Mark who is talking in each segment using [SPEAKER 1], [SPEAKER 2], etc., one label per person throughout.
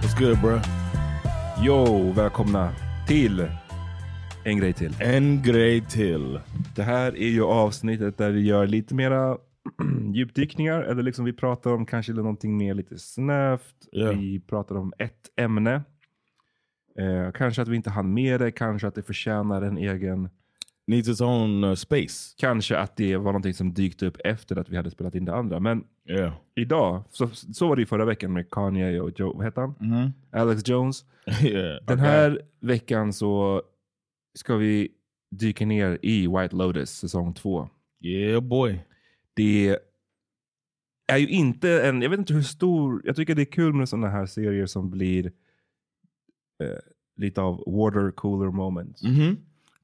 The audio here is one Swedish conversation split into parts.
[SPEAKER 1] What's good bro?
[SPEAKER 2] Yo, välkomna till En grej till.
[SPEAKER 1] En grej till.
[SPEAKER 2] Det här är ju avsnittet där vi gör lite mera djupdykningar. Eller liksom vi pratar om kanske någonting mer lite snävt.
[SPEAKER 1] Ja.
[SPEAKER 2] Vi pratar om ett ämne. Eh, kanske att vi inte hann med det. Kanske att det förtjänar en egen...
[SPEAKER 1] Needs its own uh, space.
[SPEAKER 2] Kanske att det var någonting som dykt upp efter att vi hade spelat in det andra. Men
[SPEAKER 1] Yeah.
[SPEAKER 2] idag, så, så var det ju förra veckan med Kanye och Joe, vad hette han?
[SPEAKER 1] Mhm.
[SPEAKER 2] Alex Jones.
[SPEAKER 1] yeah.
[SPEAKER 2] Den
[SPEAKER 1] Okay.
[SPEAKER 2] här veckan så ska vi dyka ner i White Lotus säsong två.
[SPEAKER 1] Yeah boy.
[SPEAKER 2] Det är ju inte en, jag vet inte hur stor, jag tycker det är kul med sådana här serier som blir eh, lite av water cooler moments.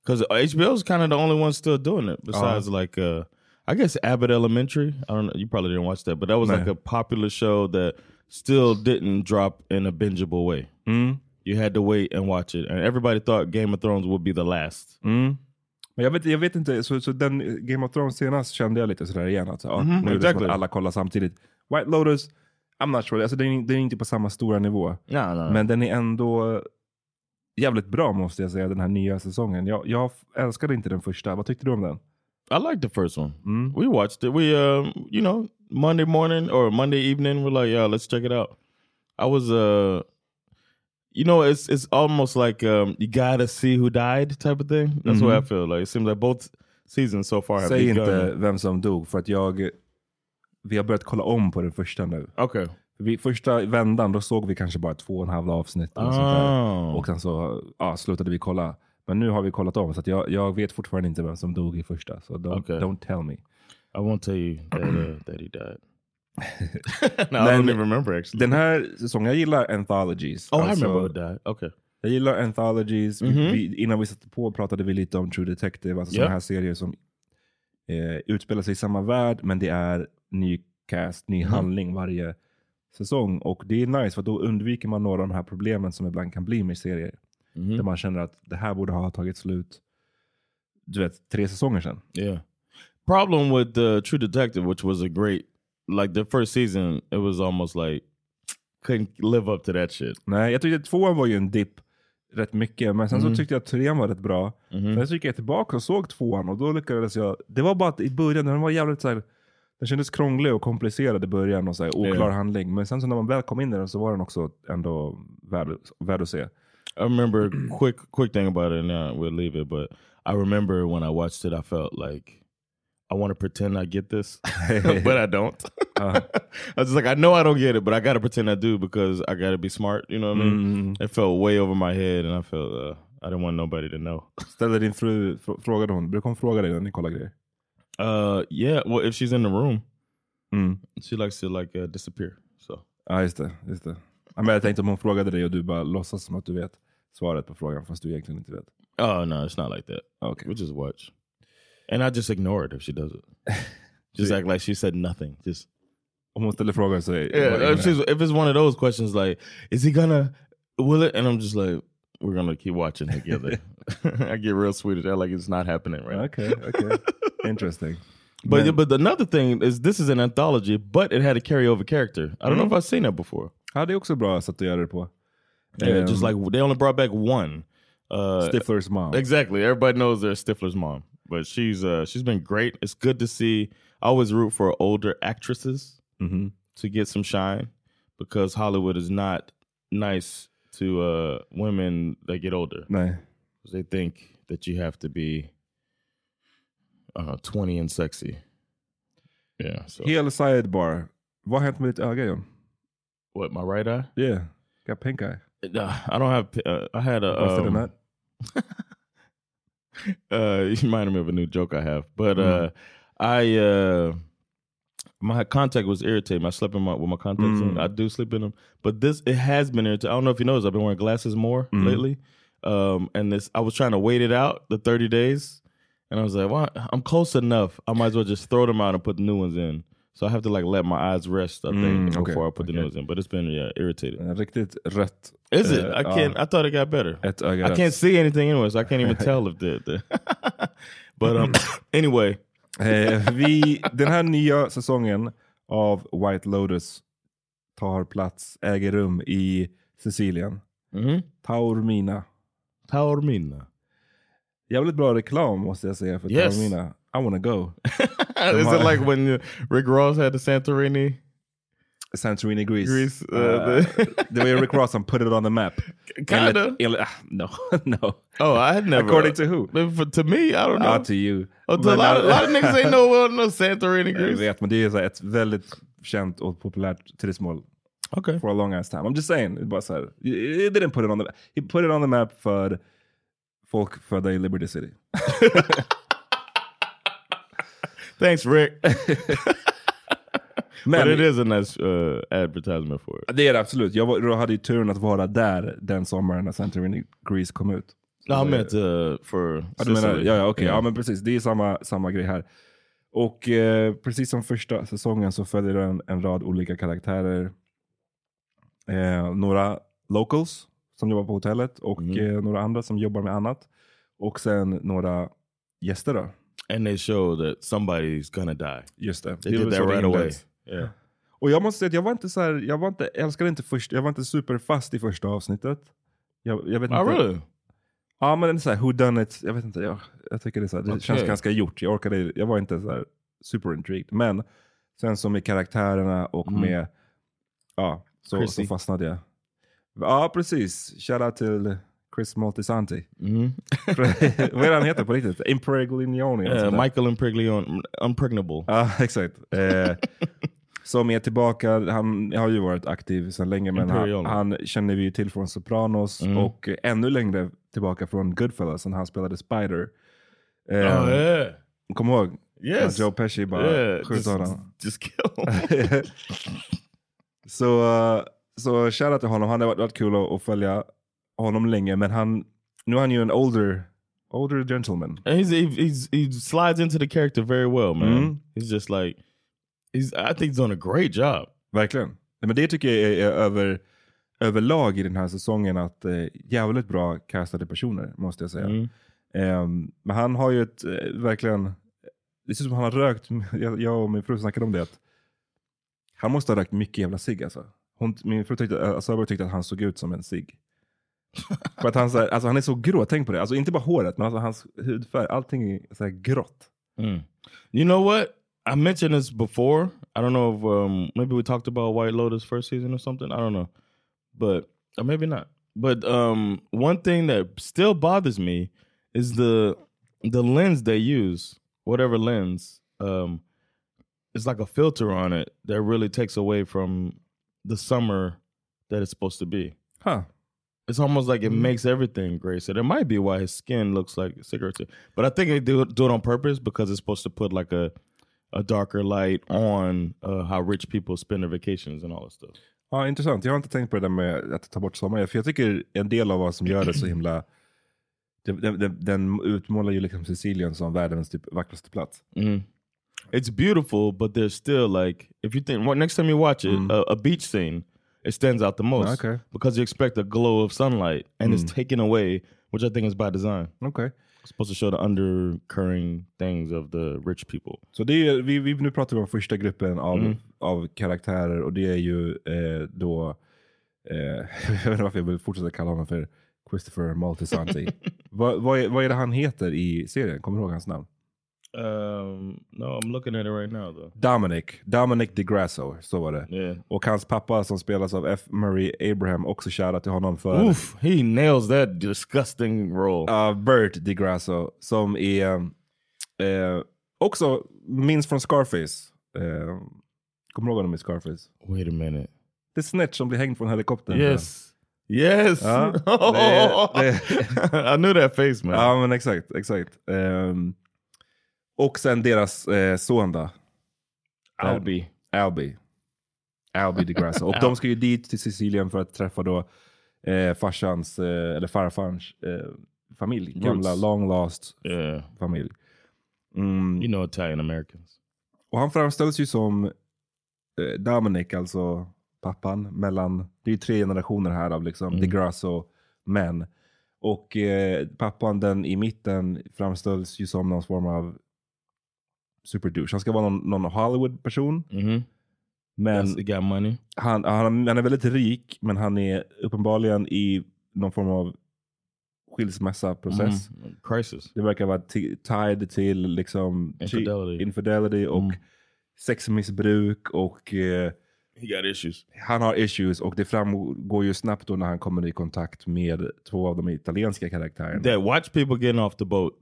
[SPEAKER 1] Because HBO is kind of the only one still doing it. Besides,
[SPEAKER 2] Uh-huh.
[SPEAKER 1] like, uh, I guess Abbott Elementary. I don't know. You probably didn't watch that, but that was
[SPEAKER 2] No.
[SPEAKER 1] like a popular show that still didn't drop in a bingeable way.
[SPEAKER 2] Mm,
[SPEAKER 1] You had to wait and watch it, and everybody thought Game of Thrones would be the last.
[SPEAKER 2] mm. Men jag vet, jag vet inte, så, så den Game of Thrones senast kände jag lite sådär igen. Att, ja,
[SPEAKER 1] Mhm,
[SPEAKER 2] nu är det som
[SPEAKER 1] exactly.
[SPEAKER 2] att alla kollar samtidigt. White Lotus, I'm not sure, alltså, den, är- den är inte på samma stora nivå.
[SPEAKER 1] No, no,
[SPEAKER 2] Men den är ändå jävligt bra måste jag säga, den här nya säsongen. Jag, jag f- älskade inte den första. Vad tyckte du om den?
[SPEAKER 1] I liked the first one.
[SPEAKER 2] Mm.
[SPEAKER 1] We watched it. We, um, you know, Monday morning or Monday evening, we're like, yeah, let's check it out. I was, uh, you know, it's it's almost like um, you gotta see who died type of thing. That's what I
[SPEAKER 2] Mhm.
[SPEAKER 1] feel like. It seems like both seasons so far have
[SPEAKER 2] Säg
[SPEAKER 1] begun.
[SPEAKER 2] inte vem som dog, för att jag... Vi har börjat kolla om på den första nu.
[SPEAKER 1] Okay.
[SPEAKER 2] Vi, första vändan, då såg vi kanske bara två och en halv avsnitt. eller sånt där.
[SPEAKER 1] Oh.
[SPEAKER 2] Och sen så ja, slutade vi kolla. Men nu har vi kollat om, så att jag, jag vet fortfarande inte vem som dog i första. Så don't,
[SPEAKER 1] Okej.
[SPEAKER 2] don't tell me.
[SPEAKER 1] I won't tell you that, uh, that he died. no, I don't
[SPEAKER 2] Men-
[SPEAKER 1] even remember actually.
[SPEAKER 2] Den här säsongen, jag gillar anthologies.
[SPEAKER 1] oh, I
[SPEAKER 2] Alltså-
[SPEAKER 1] remember who died. Okay.
[SPEAKER 2] Jag gillar anthologies. Vi-
[SPEAKER 1] Mhm.
[SPEAKER 2] vi, innan vi satte på pratade vi lite om True Detective, alltså
[SPEAKER 1] Ja.
[SPEAKER 2] sådana här serier som eh, utspelar sig i samma värld, men det är ny cast, ny
[SPEAKER 1] Mhm.
[SPEAKER 2] handling varje säsong. Och det är nice, för då undviker man några av de här problemen som ibland kan bli med serier.
[SPEAKER 1] Mhm.
[SPEAKER 2] Där man känner att det här borde ha tagit slut, du vet, tre säsonger sedan.
[SPEAKER 1] Yeah. Problem with uh, True Detective, which was a great, like the first season, it was almost like couldn't live up to that shit.
[SPEAKER 2] Nej, jag tyckte tvåan var ju en dipp rätt mycket, men sen
[SPEAKER 1] Mm. Mhm.
[SPEAKER 2] så tyckte jag trean var rätt bra. Sen så gick jag tillbaka och såg tvåan och då lyckades jag. Det var bara att i början, den var jävligt så här, den kändes krånglig och komplicerad i början och så här, oklar
[SPEAKER 1] Ja.
[SPEAKER 2] handling. Men sen så när man väl kom in i den så var den också ändå värd, värd att se.
[SPEAKER 1] I remember a quick quick thing about it, and now we'll leave it. But I remember when I watched it, I felt like, I want to pretend I get this, but I don't. I was just like, I know I don't get it, but I got to pretend I do because I got to be smart. You know what I
[SPEAKER 2] Mm.
[SPEAKER 1] mean? It felt way over my head, and I felt uh, I didn't want nobody to know.
[SPEAKER 2] Ställde din fru, fr- frågade hon, brukar hon fråga dig när ni kollar grejer?
[SPEAKER 1] Uh, yeah. Well, if she's in the room,
[SPEAKER 2] Mm.
[SPEAKER 1] she likes to like uh, disappear. So
[SPEAKER 2] Ja, just det. Just det. Ja, men jag tänkte om hon frågade dig och du bara låtsas som att du vet svaret på frågan fast du egentligen inte vet.
[SPEAKER 1] Oh no, it's not like that.
[SPEAKER 2] Okay.
[SPEAKER 1] We just watch. And I just ignore it if she does it. just act like she said nothing. Just
[SPEAKER 2] Om hon ställer frågan så är
[SPEAKER 1] Yeah.
[SPEAKER 2] jag
[SPEAKER 1] If, she's, if it's one of those questions like, is he gonna will it? And I'm just like, we're gonna keep watching together. I get real Swedish. I like it's not happening right now.
[SPEAKER 2] Okej, okej. Interesting.
[SPEAKER 1] But
[SPEAKER 2] Men-
[SPEAKER 1] but another thing is this is an anthology, but it had a carryover character. I don't know if I've seen that before.
[SPEAKER 2] Ja, det är också bra sätt att göra det på.
[SPEAKER 1] Yeah, mm-hmm. just
[SPEAKER 2] Um,
[SPEAKER 1] like they only brought back one. Uh,
[SPEAKER 2] Stiflers mom.
[SPEAKER 1] Exactly. Everybody knows they're Stifler's mom, but she's uh she's been great. It's good to see. I always root for older actresses
[SPEAKER 2] Mhm.
[SPEAKER 1] to get some shine because Hollywood is not nice to uh women that get older.
[SPEAKER 2] Nej.
[SPEAKER 1] 'Cause They think that you have to be uh 20 and sexy. Yeah. So
[SPEAKER 2] Hel sidebar. Vad har hänt med ditt öga John?
[SPEAKER 1] what my right eye?
[SPEAKER 2] Yeah. Got pink eye.
[SPEAKER 1] Uh, I don't have uh, I had a
[SPEAKER 2] Busted in
[SPEAKER 1] um,
[SPEAKER 2] that.
[SPEAKER 1] uh you reminded me of a new joke I have. But
[SPEAKER 2] Mm-hmm.
[SPEAKER 1] uh I uh my contact was irritating. I slept in my with my contacts
[SPEAKER 2] Mm.
[SPEAKER 1] in. I do sleep in them. But this it has been irritating. I don't know if you noticed, I've been wearing glasses more
[SPEAKER 2] Mm-hmm.
[SPEAKER 1] lately. Um and this I was trying to wait it out the 30 days. And I was like, well, I'm close enough. I might as well just throw them out and put new ones in. So I have to like let my eyes rest, I think,
[SPEAKER 2] Mm, okay,
[SPEAKER 1] before I put the new
[SPEAKER 2] okay. Uh,
[SPEAKER 1] ones in. But it's been yeah, irritating.
[SPEAKER 2] En Riktigt rött.
[SPEAKER 1] Is it?
[SPEAKER 2] eh,
[SPEAKER 1] I can't.
[SPEAKER 2] ja,
[SPEAKER 1] I thought it got better.
[SPEAKER 2] ett öga
[SPEAKER 1] I
[SPEAKER 2] rött.
[SPEAKER 1] can't see anything anyway, so I can't even tell if the. the but um, anyway,
[SPEAKER 2] Eh, vi, den här nya säsongen av White Lotus tar plats, äger rum i Sicilien.
[SPEAKER 1] Mhm.
[SPEAKER 2] Taormina.
[SPEAKER 1] Taormina.
[SPEAKER 2] Jävligt bra reklam måste jag säga för
[SPEAKER 1] Yes.
[SPEAKER 2] Taormina. I wanna go.
[SPEAKER 1] Is
[SPEAKER 2] I-
[SPEAKER 1] it like when uh, Rick Ross had the Santorini?
[SPEAKER 2] Santorini, Greece.
[SPEAKER 1] Greece, eh,
[SPEAKER 2] Eh,
[SPEAKER 1] the-
[SPEAKER 2] det var ju Rick Ross som put it on the map.
[SPEAKER 1] Kinda.
[SPEAKER 2] Enligt, enligt, ah, no, no.
[SPEAKER 1] Oh, I had never.
[SPEAKER 2] According to who?
[SPEAKER 1] But For, to me, I don't know.
[SPEAKER 2] Out to you.
[SPEAKER 1] Oh, to a,
[SPEAKER 2] Men,
[SPEAKER 1] lot of,
[SPEAKER 2] eh,
[SPEAKER 1] a lot of niggas ain't know well no Santorini
[SPEAKER 2] Jag
[SPEAKER 1] Greece.
[SPEAKER 2] vet, men det är så här ett väldigt känt och populärt turistmål
[SPEAKER 1] Okay.
[SPEAKER 2] for a long ass time. I'm just saying. Det är Bara så här, it didn't put it on the map. He put it on the map för folk födda i Liberty City.
[SPEAKER 1] Thanks, Rick.
[SPEAKER 2] Men
[SPEAKER 1] but it is a nice uh, advertisement for it.
[SPEAKER 2] det är det absolut. Jag, var, jag hade ju turen att vara där den sommaren när Santorini Greece kom ut.
[SPEAKER 1] No, I meant uh, for.
[SPEAKER 2] Ja, du menar, ja,
[SPEAKER 1] Sicily.
[SPEAKER 2] ja, okej. ja, men precis. Det är samma, samma grej här. Och eh, precis som första säsongen så följer den en rad olika karaktärer. Eh, några locals som jobbar på hotellet och
[SPEAKER 1] Mhm.
[SPEAKER 2] eh, några andra som jobbar med annat. Och sen några gäster då.
[SPEAKER 1] And they show that somebody's gonna die.
[SPEAKER 2] Just det.
[SPEAKER 1] They
[SPEAKER 2] Det är
[SPEAKER 1] did
[SPEAKER 2] väl
[SPEAKER 1] that
[SPEAKER 2] så det
[SPEAKER 1] right away.
[SPEAKER 2] inleds.
[SPEAKER 1] Yeah.
[SPEAKER 2] Och jag måste säga att jag var inte så här, jag var inte, jag älskade inte först, jag var inte superfast i första avsnittet. Jag, jag vet inte.
[SPEAKER 1] Oh, really?
[SPEAKER 2] Ja, men det är så här, who done it? Jag vet inte, jag, jag tycker det, är så här, det
[SPEAKER 1] Okej.
[SPEAKER 2] känns ganska gjort. Jag orkade, jag var inte så här super intrigued. Men sen så med karaktärerna och
[SPEAKER 1] Mm.
[SPEAKER 2] med, ja, så,
[SPEAKER 1] Chrissy.
[SPEAKER 2] så fastnade jag. Ja, precis. Shoutout till Chris Moltisanti.
[SPEAKER 1] Mm-hmm.
[SPEAKER 2] Vad är det han heter på riktigt? Impreglignoni? eller
[SPEAKER 1] Uh,
[SPEAKER 2] sånt där.
[SPEAKER 1] Michael Impreglion, Impregnable.
[SPEAKER 2] Ja, exakt. Eh, som är tillbaka. Han har ju varit aktiv sedan länge, men han,
[SPEAKER 1] Imperial.
[SPEAKER 2] han känner vi ju till från Sopranos
[SPEAKER 1] Mm.
[SPEAKER 2] och ännu längre tillbaka från Goodfellas när han spelade Spider. Eh,
[SPEAKER 1] oh yeah,
[SPEAKER 2] Kom ihåg?
[SPEAKER 1] yes,
[SPEAKER 2] När Joe Pesci bara
[SPEAKER 1] yeah.
[SPEAKER 2] sköt
[SPEAKER 1] Just,
[SPEAKER 2] honom.
[SPEAKER 1] just kill him.
[SPEAKER 2] så eh, så shoutout till honom. Han har varit, varit kul att, att följa honom länge, men han, nu är han ju en older, older gentleman.
[SPEAKER 1] and he's, he, he's he slides into the character very well, man.
[SPEAKER 2] Mhm.
[SPEAKER 1] He's just like he's. I think he's doing a great job.
[SPEAKER 2] Verkligen. Nej, Men det tycker jag är, är över, överlag i den här säsongen att eh, jävligt bra castade personer måste jag säga.
[SPEAKER 1] Mm.
[SPEAKER 2] Ehm, men han har ju ett, eh, verkligen, det ser ut som han har rökt, jag, jag och min fru snackade om det, att han måste ha rökt mycket jävla cigg alltså. Hon, min fru tyckte, eh, Söberg tyckte att han såg ut som en cigg. För att han, så här, alltså, han är så grå, tänk på det. Alltså inte bara håret, men alltså, hans hudfärg, allting är så här grått.
[SPEAKER 1] Mm. You know what? I mentioned this before. I don't know if um, maybe we talked about White Lotus first season or something. I don't know, but or maybe not. But um, one thing that still bothers me is the the lens they use, whatever lens um, it's like a filter on it that really takes away from the summer that it's supposed to be.
[SPEAKER 2] Huh.
[SPEAKER 1] It's almost like it makes everything gray. So that might be why his skin looks like cigarette. tip. But I think they do do it on purpose because it's supposed to put like a a darker light on uh, how rich people spend their vacations and all that stuff.
[SPEAKER 2] Ja, intressant. Jag har inte tänkt på det där med att ta bort sommaren. För jag tycker en del av vad som gör det så himla... Den, den- den, den utmålar ju liksom Sicilien som världens typ vackraste plats.
[SPEAKER 1] It's beautiful, but there's still like if you think well, next time you watch it, a, a beach scene, it stands out the most
[SPEAKER 2] Okay.
[SPEAKER 1] because you expect a glow of sunlight and it's taken away, which I think is by design.
[SPEAKER 2] Okej.
[SPEAKER 1] It's supposed to show the undercurrent things of the rich people.
[SPEAKER 2] Så det är, vi, vi nu pratar vi om första gruppen av, av karaktärer och det är ju eh, då... Eh, jag vet inte varför jag vill fortsätta kalla honom för Christopher Maltesanti. vad, vad, är, vad är det han heter i serien? Kommer du ihåg hans namn?
[SPEAKER 1] Um, no, I'm looking at it right now though.
[SPEAKER 2] Dominic. Dominic DeGrasso, så var det.
[SPEAKER 1] Yeah.
[SPEAKER 2] Och hans pappa som spelas av F. Murray Abraham, också shoutout till honom för...
[SPEAKER 1] Oof, he nails that disgusting role.
[SPEAKER 2] Uh, Bert DiGrasso som är eh, också minns från Scarface. Eh, kommer du ihåg honom i Scarface?
[SPEAKER 1] Wait a minute. Uh-huh.
[SPEAKER 2] Det är Snitch som blir hängd från helikoptern.
[SPEAKER 1] Yes. Yes.
[SPEAKER 2] Ja,
[SPEAKER 1] Uh,
[SPEAKER 2] det-
[SPEAKER 1] I knew that face, man.
[SPEAKER 2] Ja men exakt, exakt. Ehm, och sen deras eh, son då,
[SPEAKER 1] Albie.
[SPEAKER 2] Albie. Albie DiGrasso. och de ska ju dit till Sicilien för att träffa då eh, farsans, eh, eller farfarns eh, familj. Gamla
[SPEAKER 1] Roots.
[SPEAKER 2] long lost
[SPEAKER 1] Yeah.
[SPEAKER 2] familj. Mm.
[SPEAKER 1] You know Italian Americans.
[SPEAKER 2] Och han framställs ju som eh, Dominic, alltså pappan, mellan, det är ju tre generationer här av liksom DeGrasso män. Och eh, pappan, den i mitten, framställs ju som någon form av superdouche. Han ska vara någon, någon Hollywood-person.
[SPEAKER 1] Mm-hmm.
[SPEAKER 2] Men
[SPEAKER 1] Yes, he got money.
[SPEAKER 2] han, han, han är väldigt rik, men han är uppenbarligen i någon form av skilsmässa-process.
[SPEAKER 1] Mhm. Crisis.
[SPEAKER 2] Det verkar vara ti- tied till liksom
[SPEAKER 1] Infidelity.
[SPEAKER 2] infidelity och
[SPEAKER 1] Mm.
[SPEAKER 2] sexmissbruk och eh,
[SPEAKER 1] He got issues.
[SPEAKER 2] han har issues och det framgår ju snabbt då när han kommer i kontakt med två av de italienska karaktärerna.
[SPEAKER 1] That watch people getting off the boat.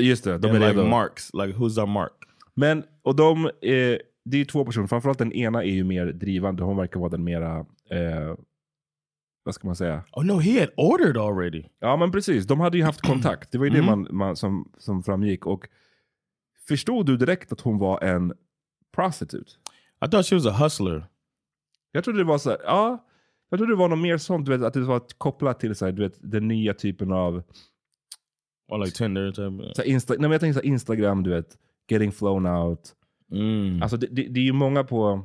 [SPEAKER 2] Just det, de är
[SPEAKER 1] and like
[SPEAKER 2] redo.
[SPEAKER 1] marks. Like who's our mark?
[SPEAKER 2] Men, och de, eh, det är ju två personer, framförallt den ena är ju mer drivande, hon verkar vara den mera, eh, vad ska man säga?
[SPEAKER 1] Oh no, he had ordered already.
[SPEAKER 2] Ja men precis, de hade ju haft kontakt. Det var ju det man, man, som, som framgick. Och förstod du direkt att hon var en prostitute?
[SPEAKER 1] I thought she was a hustler.
[SPEAKER 2] Jag trodde det var så här, ja. Jag trodde det var något mer sånt, du vet, att det var kopplat till så här, du vet, den nya typen av
[SPEAKER 1] Or like Tinder type. of-
[SPEAKER 2] så här, Insta, nej, men jag tänker så här, Instagram, du vet. Getting flown out.
[SPEAKER 1] Mm.
[SPEAKER 2] Alltså det, det, det är ju många på,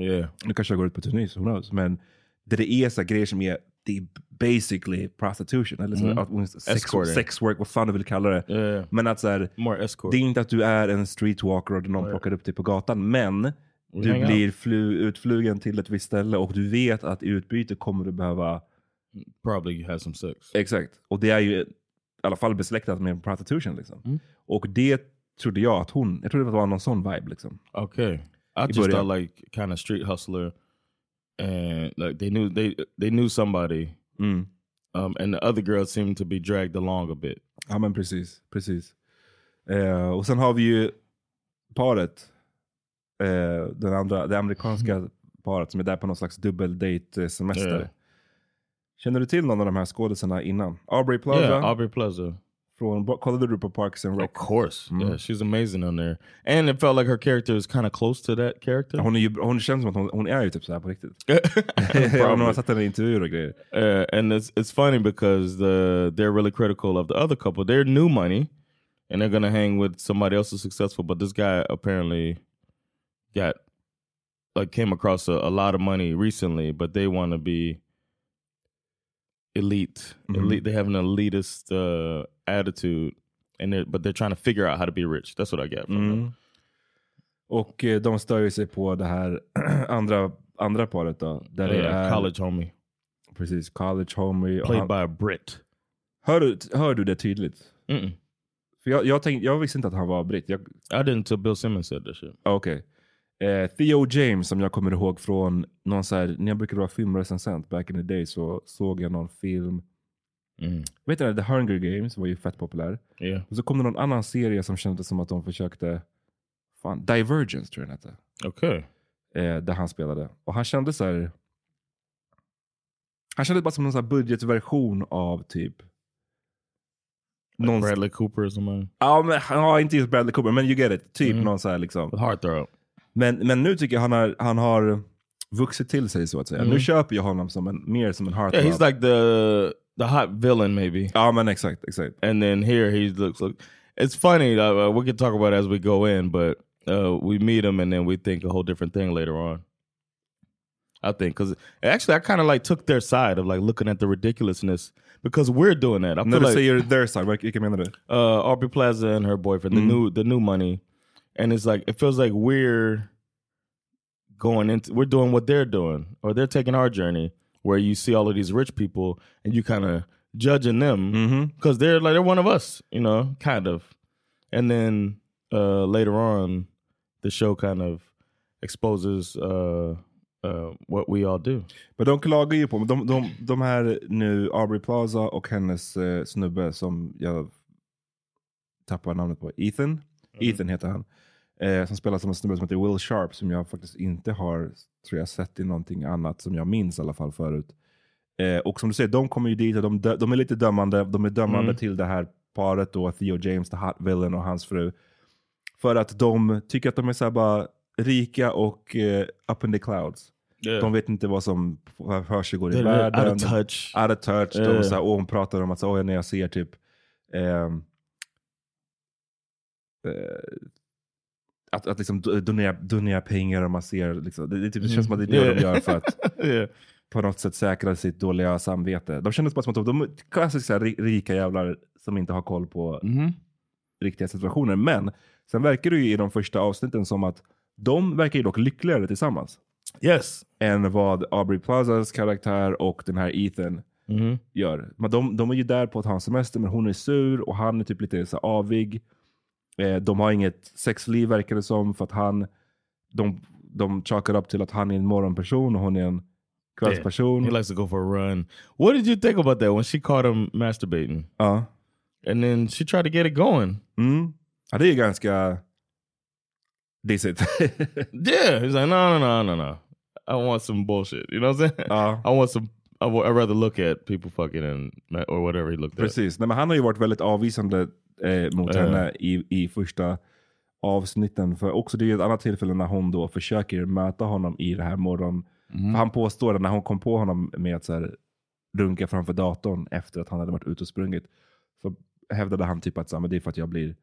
[SPEAKER 1] Yeah.
[SPEAKER 2] nu kanske jag går ut på turné, who knows, men där det är så här, grejer som är det är basically prostitution. Eller så,
[SPEAKER 1] Mm.
[SPEAKER 2] här, att- sex,
[SPEAKER 1] Escorting.
[SPEAKER 2] sex work, vad fan du vill kalla det.
[SPEAKER 1] Yeah.
[SPEAKER 2] Men att så här,
[SPEAKER 1] More escort.
[SPEAKER 2] Det är inte att du är en streetwalker och någon plockar upp dig på gatan, men du
[SPEAKER 1] hang out.
[SPEAKER 2] blir flu, utflugen till ett visst ställe och du vet att i utbyte kommer du behöva...
[SPEAKER 1] Probably had some sex.
[SPEAKER 2] Exakt. Och det är ju i alla fall besläktat med prostitution. Liksom. Och det trodde jag att hon... Jag trodde det var någon sån vibe. Liksom.
[SPEAKER 1] Okay. I
[SPEAKER 2] You
[SPEAKER 1] just
[SPEAKER 2] put it-
[SPEAKER 1] thought like kind of street hustler, and like they knew they they knew somebody,
[SPEAKER 2] Mm.
[SPEAKER 1] um, and the other girl seemed to be dragged along a bit.
[SPEAKER 2] Ja men precis. precis. Eh, och sen har vi ju paret. Eh, den andra, det amerikanska paret som är där på någon slags dubbeldate-semester.
[SPEAKER 1] Ja.
[SPEAKER 2] Känner du till någon av de här skådisarna innan? Aubrey Plaza?
[SPEAKER 1] Yeah, Aubrey Plaza.
[SPEAKER 2] från, kollade du på Parks and Rec?
[SPEAKER 1] Of course. Yeah,
[SPEAKER 2] Mm.
[SPEAKER 1] she's amazing on there. And it felt like her character is kind of close to that character.
[SPEAKER 2] Hon, är ju, hon känns som att hon, hon är ju typ så här på riktigt. hon har satt henne i intervjuer och grejer.
[SPEAKER 1] Uh, and it's it's funny because the they're really critical of the other couple. They're new money, and they're gonna hang with somebody else who's successful. But this guy apparently got like came across a, a lot of money recently. But they want to be elite, elite. They have an elitist uh, attitude, and they're, but they're trying to figure out how to be rich. That's what I get from them.
[SPEAKER 2] Mm. Och eh, de stör ju sig på det här andra, andra paret då. Där det
[SPEAKER 1] Yeah,
[SPEAKER 2] är
[SPEAKER 1] Uh, college homie Uh-huh.
[SPEAKER 2] Precis, college homie. och
[SPEAKER 1] played
[SPEAKER 2] han-
[SPEAKER 1] by a Brit.
[SPEAKER 2] Hör, du- hör du det tydligt?
[SPEAKER 1] Mm-mm.
[SPEAKER 2] För jag, jag, tänkte, jag visste inte att han var britt. Jag,
[SPEAKER 1] I didn't until Bill Simmons said that shit.
[SPEAKER 2] ah, Okej. Eh, Theo James som jag kommer ihåg från någon så här, när jag brukade vara filmrecensent back in the day så såg jag någon film.
[SPEAKER 1] Mm.
[SPEAKER 2] Vet du det? The Hunger Games var ju fett populär.
[SPEAKER 1] Yeah.
[SPEAKER 2] Och så kom det någon annan serie som kändes som att de försökte fan, Divergence tror jag den hette.
[SPEAKER 1] Okej.
[SPEAKER 2] eh, där han spelade. Och han kände så här. Han kände bara som någon så här budgetversion av typ.
[SPEAKER 1] Like
[SPEAKER 2] Någon-
[SPEAKER 1] Bradley Cooper och sådär.
[SPEAKER 2] Ja, men, ja, inte just Bradley Cooper, men you get it. Typ
[SPEAKER 1] Mm.
[SPEAKER 2] någon så här liksom.
[SPEAKER 1] Heartthrob.
[SPEAKER 2] Men, men nu tycker jag han har, han har vuxit till sig så att säga.
[SPEAKER 1] Mm.
[SPEAKER 2] Nu köper jag honom som en, mer som en
[SPEAKER 1] Yeah,
[SPEAKER 2] heartthrob.
[SPEAKER 1] he's like the the hot villain maybe.
[SPEAKER 2] Ja, men exakt, exakt.
[SPEAKER 1] and then here he looks like it's funny uh, uh, we can talk about it as we go in but uh, we meet him and then we think a whole different thing later on i think because actually i kind of like took their side of like looking at the ridiculousness because we're doing that i
[SPEAKER 2] När
[SPEAKER 1] feel
[SPEAKER 2] du
[SPEAKER 1] like
[SPEAKER 2] säger their side, vad- vilka menar du?
[SPEAKER 1] uh, Aubrey Plaza and her boyfriend, the
[SPEAKER 2] Mhm.
[SPEAKER 1] new the new money, and it's like it feels like we're going into we're doing what they're doing or they're taking our journey where you see all of these rich people and you kind of judging them
[SPEAKER 2] Mhm.
[SPEAKER 1] because they're like they're one of us, you know, kind of. And then uh, later on, the show kind of exposes uh, uh, what we all do.
[SPEAKER 2] Men de klagar ju på men de, de, de här nu, Aubrey Plaza och hennes eh, snubbe som jag tappar namnet på, Ethan. Ethan heter han. Eh, som spelar som en snubbe som heter Will Sharp som jag faktiskt inte har, tror jag, sett i någonting annat som jag minns i alla fall förut. Eh, och som du säger, de kommer ju dit och de, dö- de är lite dömande. De är dömande
[SPEAKER 1] Mm.
[SPEAKER 2] till det här paret då, Theo James, the hot villain och hans fru. För att de tycker att de är så här bara rika och eh, up in the clouds.
[SPEAKER 1] Eh.
[SPEAKER 2] De vet inte vad som försiggår i
[SPEAKER 1] They're out
[SPEAKER 2] världen.
[SPEAKER 1] of touch.
[SPEAKER 2] Out of touch.
[SPEAKER 1] Eh.
[SPEAKER 2] De så här, och hon pratar om att så, "Oj, när jag ser typ... ehm, eh, att, att liksom do- donera, donera pengar och man ser... Liksom, det, det, typ, det känns som att det är det de
[SPEAKER 1] Yeah.
[SPEAKER 2] gör för att
[SPEAKER 1] yeah.
[SPEAKER 2] på något sätt säkra sitt dåliga samvete. De kändes bara som att de, de är klassiska ri- rika jävlar som inte har koll på
[SPEAKER 1] Mhm.
[SPEAKER 2] riktiga situationer. Men sen verkar det ju i de första avsnitten som att de verkar ju dock lyckligare tillsammans
[SPEAKER 1] Yes.
[SPEAKER 2] än vad Aubrey Plazas karaktär och den här Ethan
[SPEAKER 1] Mhm.
[SPEAKER 2] gör. Men de, de är ju där på att ha en semester, men hon är sur och han är typ lite så här avig. Eh, de har inget sexliv verkar det som, för att han... De, de chalkar upp till att han är en morgonperson och hon är en kvällsperson.
[SPEAKER 1] He likes to go for a run. What did you think about that when she caught him masturbating?
[SPEAKER 2] ja.
[SPEAKER 1] And then she tried to get it going.
[SPEAKER 2] Mm. ja, det är ju ganska dissigt.
[SPEAKER 1] Yeah. He's like, no, no, no, no, no. I want some bullshit. You know what I'm saying?
[SPEAKER 2] ja,
[SPEAKER 1] I want some, I w I'd rather look at people fucking and, ma- or whatever he looked at.
[SPEAKER 2] precis. Nej, men han har ju varit väldigt avvisande eh, mot
[SPEAKER 1] Ja.
[SPEAKER 2] henne i, i första avsnitten. För också det är ju ett annat tillfälle när hon då försöker möta honom i det här morgon... För Han påstår att när hon kom på honom med att så här, runka framför datorn efter att han hade varit ute och sprungit. Så hävdade han typ att så här, men det är för att jag blir,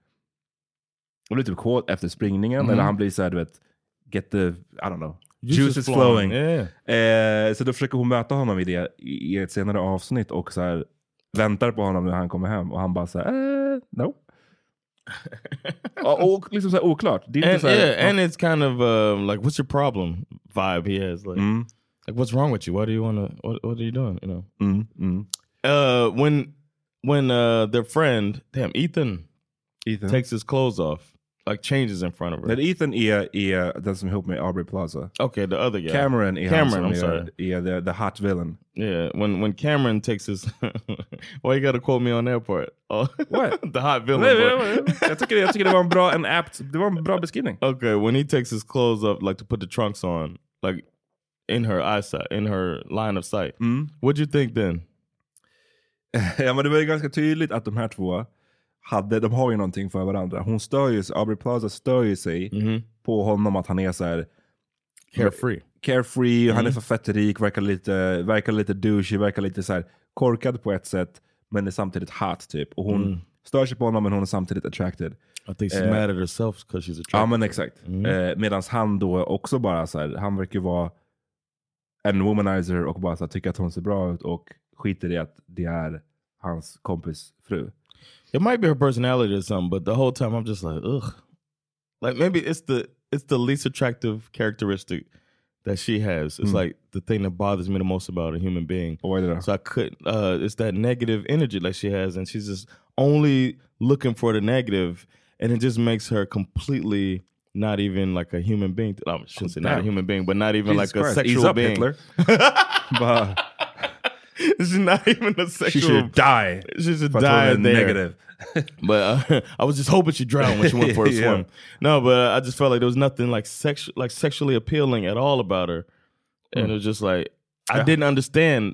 [SPEAKER 2] jag blir typ kåt efter springningen.
[SPEAKER 1] Mm.
[SPEAKER 2] Eller han blir så här, du vet, get the, I don't know.
[SPEAKER 1] Juice is flowing. Yeah.
[SPEAKER 2] Eh, så då försöker hon möta honom i det i i ett senare avsnitt och så här, väntar på honom när han kommer hem. Och han bara så här, eh, no. och, och liksom så här oklart. Det är inte
[SPEAKER 1] And,
[SPEAKER 2] så här,
[SPEAKER 1] yeah, and it's kind of um, like, what's your problem vibe he has. Like,
[SPEAKER 2] mm,
[SPEAKER 1] like what's wrong with you? Why do you want to, what, what are you doing? You know?
[SPEAKER 2] mm, mm.
[SPEAKER 1] Uh, when, when uh, their friend, damn, Ethan
[SPEAKER 2] Ethan.
[SPEAKER 1] takes his clothes off, like changes in front of her.
[SPEAKER 2] Men Ethan är, är den som är ihop med Aubrey Plaza.
[SPEAKER 1] Okay, the other guy.
[SPEAKER 2] Cameron är
[SPEAKER 1] Cameron,
[SPEAKER 2] han
[SPEAKER 1] I'm
[SPEAKER 2] som
[SPEAKER 1] sorry.
[SPEAKER 2] är, är the, the hot villain.
[SPEAKER 1] Yeah, when when Cameron takes his, why you gotta quote me on that part? Oh,
[SPEAKER 2] What?
[SPEAKER 1] the hot villain.
[SPEAKER 2] Nej,
[SPEAKER 1] part.
[SPEAKER 2] nej, nej. jag, tycker, jag tycker det var en bra, en apt, det var en bra beskrivning.
[SPEAKER 1] Okay, when he takes his clothes up, like to put the trunks on, like in her eyesight, in her line of sight.
[SPEAKER 2] Mm.
[SPEAKER 1] What'd you think then?
[SPEAKER 2] ja, men det var ju ganska tydligt att de här två hade, de har ju någonting för varandra. Hon stör ju sig, Aubrey Plaza stör ju sig på honom att han är så här
[SPEAKER 1] Carefree.
[SPEAKER 2] carefree, han är för fett rik, verkar lite, verkar lite douchey, verkar lite så här korkad på ett sätt, men är samtidigt hot typ. Och hon stör sig på honom, men hon är samtidigt attracted.
[SPEAKER 1] I think she's
[SPEAKER 2] Eh.
[SPEAKER 1] mad at herself because she's
[SPEAKER 2] Ja
[SPEAKER 1] attractive.
[SPEAKER 2] men exakt. Eh, Medan han då också bara så här, han verkar ju vara en womanizer och bara så här, tycker att hon ser bra ut och skiter i att det är hans kompis fru.
[SPEAKER 1] It might be her personality or something, but the whole time I'm just like, ugh. Like maybe it's the it's the least attractive characteristic that she has. It's like the thing that bothers me the most about a human being.
[SPEAKER 2] Och vad är det då?
[SPEAKER 1] So I could. Uh, it's that negative energy like she has, and she's just only looking for the negative, and it just makes her completely not even like a human being. Oh, I shouldn't say not a
[SPEAKER 2] damn.
[SPEAKER 1] human being, but not even
[SPEAKER 2] Jesus
[SPEAKER 1] like a
[SPEAKER 2] Christ,
[SPEAKER 1] sexual
[SPEAKER 2] ease up,
[SPEAKER 1] being.
[SPEAKER 2] Hitler. bara,
[SPEAKER 1] It's not even a
[SPEAKER 2] She
[SPEAKER 1] sexual.
[SPEAKER 2] should die.
[SPEAKER 1] She should
[SPEAKER 2] För att hon
[SPEAKER 1] die
[SPEAKER 2] är
[SPEAKER 1] there.
[SPEAKER 2] negative.
[SPEAKER 1] But uh, I was just hoping she drowned when she went for a
[SPEAKER 2] Yeah.
[SPEAKER 1] swim. No, but uh, I just felt like there was nothing like sexu like sexually appealing at all about her, and it was just like I
[SPEAKER 2] Yeah.
[SPEAKER 1] didn't understand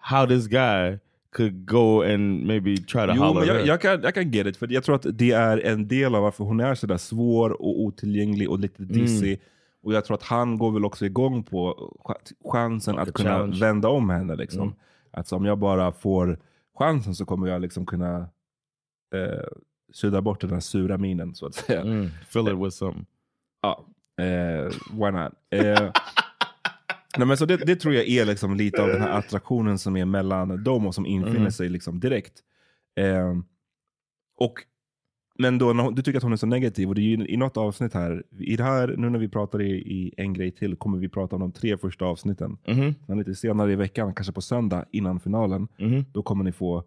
[SPEAKER 1] how this guy could go and maybe try to
[SPEAKER 2] Jo,
[SPEAKER 1] holler
[SPEAKER 2] men
[SPEAKER 1] at her.
[SPEAKER 2] jag, jag, kan, jag kan get it. För jag tror att det är en del av varför hon är sådär svår och otillgänglig och lite
[SPEAKER 1] Mm.
[SPEAKER 2] dissig. Och jag tror att han går väl också igång på ch- chansen att kunna
[SPEAKER 1] challenge. Mm.
[SPEAKER 2] vända om henne. Liksom. Att så, om jag bara får chansen så kommer jag liksom kunna eh, sudda bort den här sura minen så att säga.
[SPEAKER 1] Mm, fill it with something.
[SPEAKER 2] Ja, eh, why not? Eh, nej, men så det, det tror jag är liksom lite av den här attraktionen som är mellan dem och som infinner
[SPEAKER 1] Mm.
[SPEAKER 2] sig liksom direkt. Eh, och, men då, när hon- du tycker att hon är så negativ och det är ju i något avsnitt här, i det här, nu när vi pratar i, i en grej till kommer vi prata om de tre första avsnitten.
[SPEAKER 1] Mhm,
[SPEAKER 2] Men lite senare i veckan, kanske på söndag innan finalen,
[SPEAKER 1] mhm.
[SPEAKER 2] då kommer ni få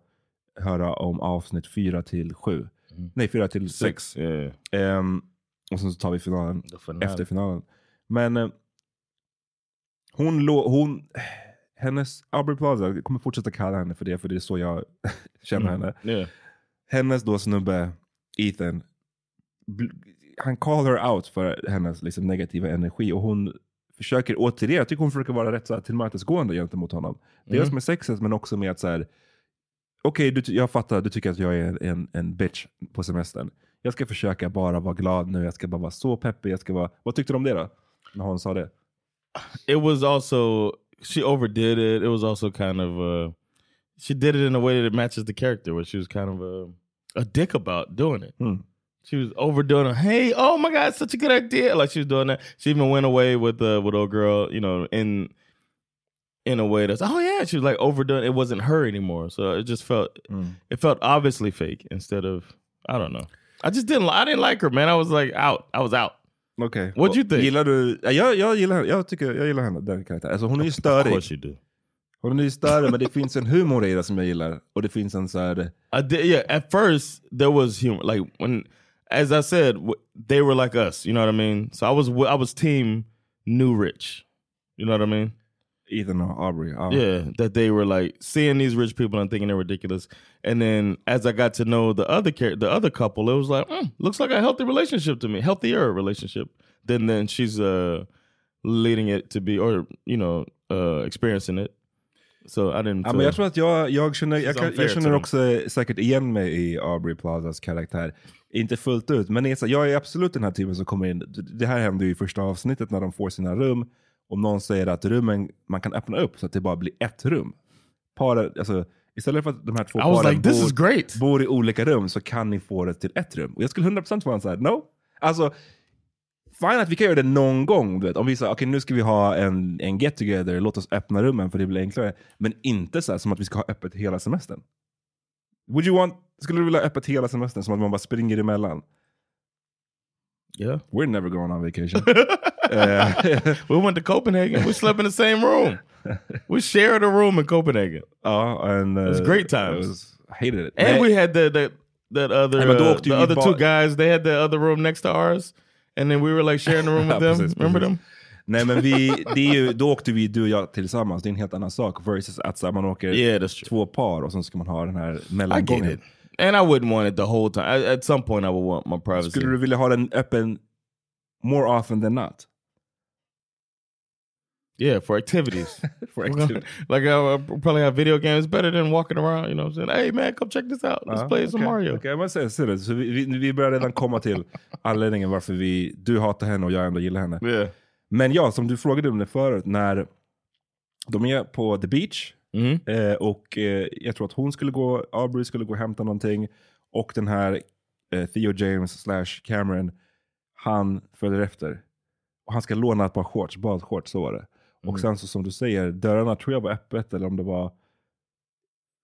[SPEAKER 2] höra om avsnitt fyra till sju. Nej, fyra till sex.
[SPEAKER 1] Yeah, yeah.
[SPEAKER 2] Ehm, och sen så tar vi finalen
[SPEAKER 1] The finale.
[SPEAKER 2] efter finalen. Men eh, hon, lå- hon, hennes, Aubrey Plaza, jag kommer fortsätta kalla henne för det, för det är så jag känner henne.
[SPEAKER 1] Yeah.
[SPEAKER 2] Hennes då snubbe, Ethan, bl- han call her out för hennes liksom, negativa energi och hon försöker återigen, jag tycker hon försöker vara rätt så här, tillmötesgående gentemot honom.
[SPEAKER 1] Mm.
[SPEAKER 2] Dels med sexet men också med att så här, okej du ty- jag fattar, du tycker att jag är en, en bitch på semestern. Jag ska försöka bara vara glad nu, jag ska bara vara så peppig, jag ska vara, vad tyckte du om det då? När hon sa det?
[SPEAKER 1] It was also she overdid it. It was also kind of uh, she did it in a way that it matches the character, where she was kind of uh, a, a dick about doing it.
[SPEAKER 2] Mm.
[SPEAKER 1] She was overdoing it. Hey, oh my god, such a good idea! Like she was doing that. She even went away with uh, with old girl, you know, in in a way that's oh yeah. She was like overdoing. It wasn't her anymore, so it just felt it felt obviously fake instead of I don't know. I just didn't. li- I didn't like her, man. I was like out. I was out.
[SPEAKER 2] Okej.
[SPEAKER 1] What'd you think?
[SPEAKER 2] Gillar du, ja, jag, jag gillar henne, jag tycker jag gillar henne, den karaktären. Alltså hon är ju
[SPEAKER 1] Of
[SPEAKER 2] störig.
[SPEAKER 1] course you do.
[SPEAKER 2] Hon är ju större, men det finns en humor i det som jag gillar. Och det finns en så här...
[SPEAKER 1] I did, yeah. At first, there was humor. Like when, as I said, w- they were like us. You know what I mean? So I was, wi- I was team new rich. You know what I mean?
[SPEAKER 2] Ethan och Aubrey. Ja.
[SPEAKER 1] Yeah, that they were like seeing these rich people and thinking they're ridiculous. And then as I got to know the other char- the other couple, it was like, mm, looks like a healthy relationship to me, healthier relationship than then she's uh leading it to be or you know uh experiencing it. So I didn't.
[SPEAKER 2] Ja,
[SPEAKER 1] feel-
[SPEAKER 2] men jag tror att jag, jag känner, jag,
[SPEAKER 1] She's
[SPEAKER 2] kan,
[SPEAKER 1] unfair
[SPEAKER 2] jag känner
[SPEAKER 1] to me.
[SPEAKER 2] också säkert igen mig i Aubrey Plazas karaktär. Inte fullt ut, men det är så, jag är absolut den här typen som kommer in. Det här händer ju i första avsnittet när de får sina rum. Om någon säger att rummen, man kan öppna upp så att det bara blir ett rum. Paren, alltså, istället för att de här två
[SPEAKER 1] I was
[SPEAKER 2] paren
[SPEAKER 1] like, this
[SPEAKER 2] bor,
[SPEAKER 1] is great.
[SPEAKER 2] bor i olika rum så kan ni få det till ett rum. Och jag skulle 100% vara en så här, no. Alltså, fine att vi kan göra det någon gång. Du vet. Om vi säger, okej nu ska vi ha en, en get together, låt oss öppna rummen för det blir enklare. Men inte så här som att vi ska ha öppet hela semestern. Would you want, skulle du vilja ha öppet hela semestern som att man bara springer emellan?
[SPEAKER 1] yeah.
[SPEAKER 2] We're never going on vacation. Eh,
[SPEAKER 1] We went to Copenhagen. We slept in the same room. We shared a room in Copenhagen,
[SPEAKER 2] ja, and, eh,
[SPEAKER 1] was great times.
[SPEAKER 2] it was- hated it.
[SPEAKER 1] and
[SPEAKER 2] Nej,
[SPEAKER 1] we had the that that other
[SPEAKER 2] Nej, men då
[SPEAKER 1] uh,
[SPEAKER 2] åkte
[SPEAKER 1] the
[SPEAKER 2] vi
[SPEAKER 1] other
[SPEAKER 2] bara-
[SPEAKER 1] two guys. They had the other room next to ours, and then we were like sharing the room with
[SPEAKER 2] Ja,
[SPEAKER 1] them.
[SPEAKER 2] precis,
[SPEAKER 1] Remember
[SPEAKER 2] precis.
[SPEAKER 1] them?
[SPEAKER 2] nej men vi, det är ju, då åkte vi du och jag tillsammans, det är en helt annan sak. Versus att så här, man åker
[SPEAKER 1] Yeah, that's true.
[SPEAKER 2] två par och sen ska man ha den här
[SPEAKER 1] I get it,
[SPEAKER 2] mellangången.
[SPEAKER 1] and I wouldn't want it the whole time. I, at some point, I would want my privacy.
[SPEAKER 2] Skulle du vilja ha den öppen more often than not?
[SPEAKER 1] Yeah, for activities.
[SPEAKER 2] For
[SPEAKER 1] We're
[SPEAKER 2] activities.
[SPEAKER 1] gonna- like I I'll probably have video games better than walking around. You know, what I'm saying, hey man, come check this out. Let's
[SPEAKER 2] Ja,
[SPEAKER 1] play some
[SPEAKER 2] okej.
[SPEAKER 1] Mario.
[SPEAKER 2] Okej, men se, se det. Så vi, vi, vi börjar redan komma till anledningen varför vi, du hatar henne och jag ändå gillar henne.
[SPEAKER 1] Yeah.
[SPEAKER 2] Men ja, som du frågade om det förut, när de är på the beach
[SPEAKER 1] Mhm.
[SPEAKER 2] eh, och eh, jag tror att hon skulle gå, Aubrey skulle gå och hämta någonting och den här eh, Theo James slash Cameron, han följer efter. Och han ska låna ett par shorts, badshorts, så var det. Och
[SPEAKER 1] Mm.
[SPEAKER 2] sen så som du säger, dörrarna tror jag var öppet eller om det var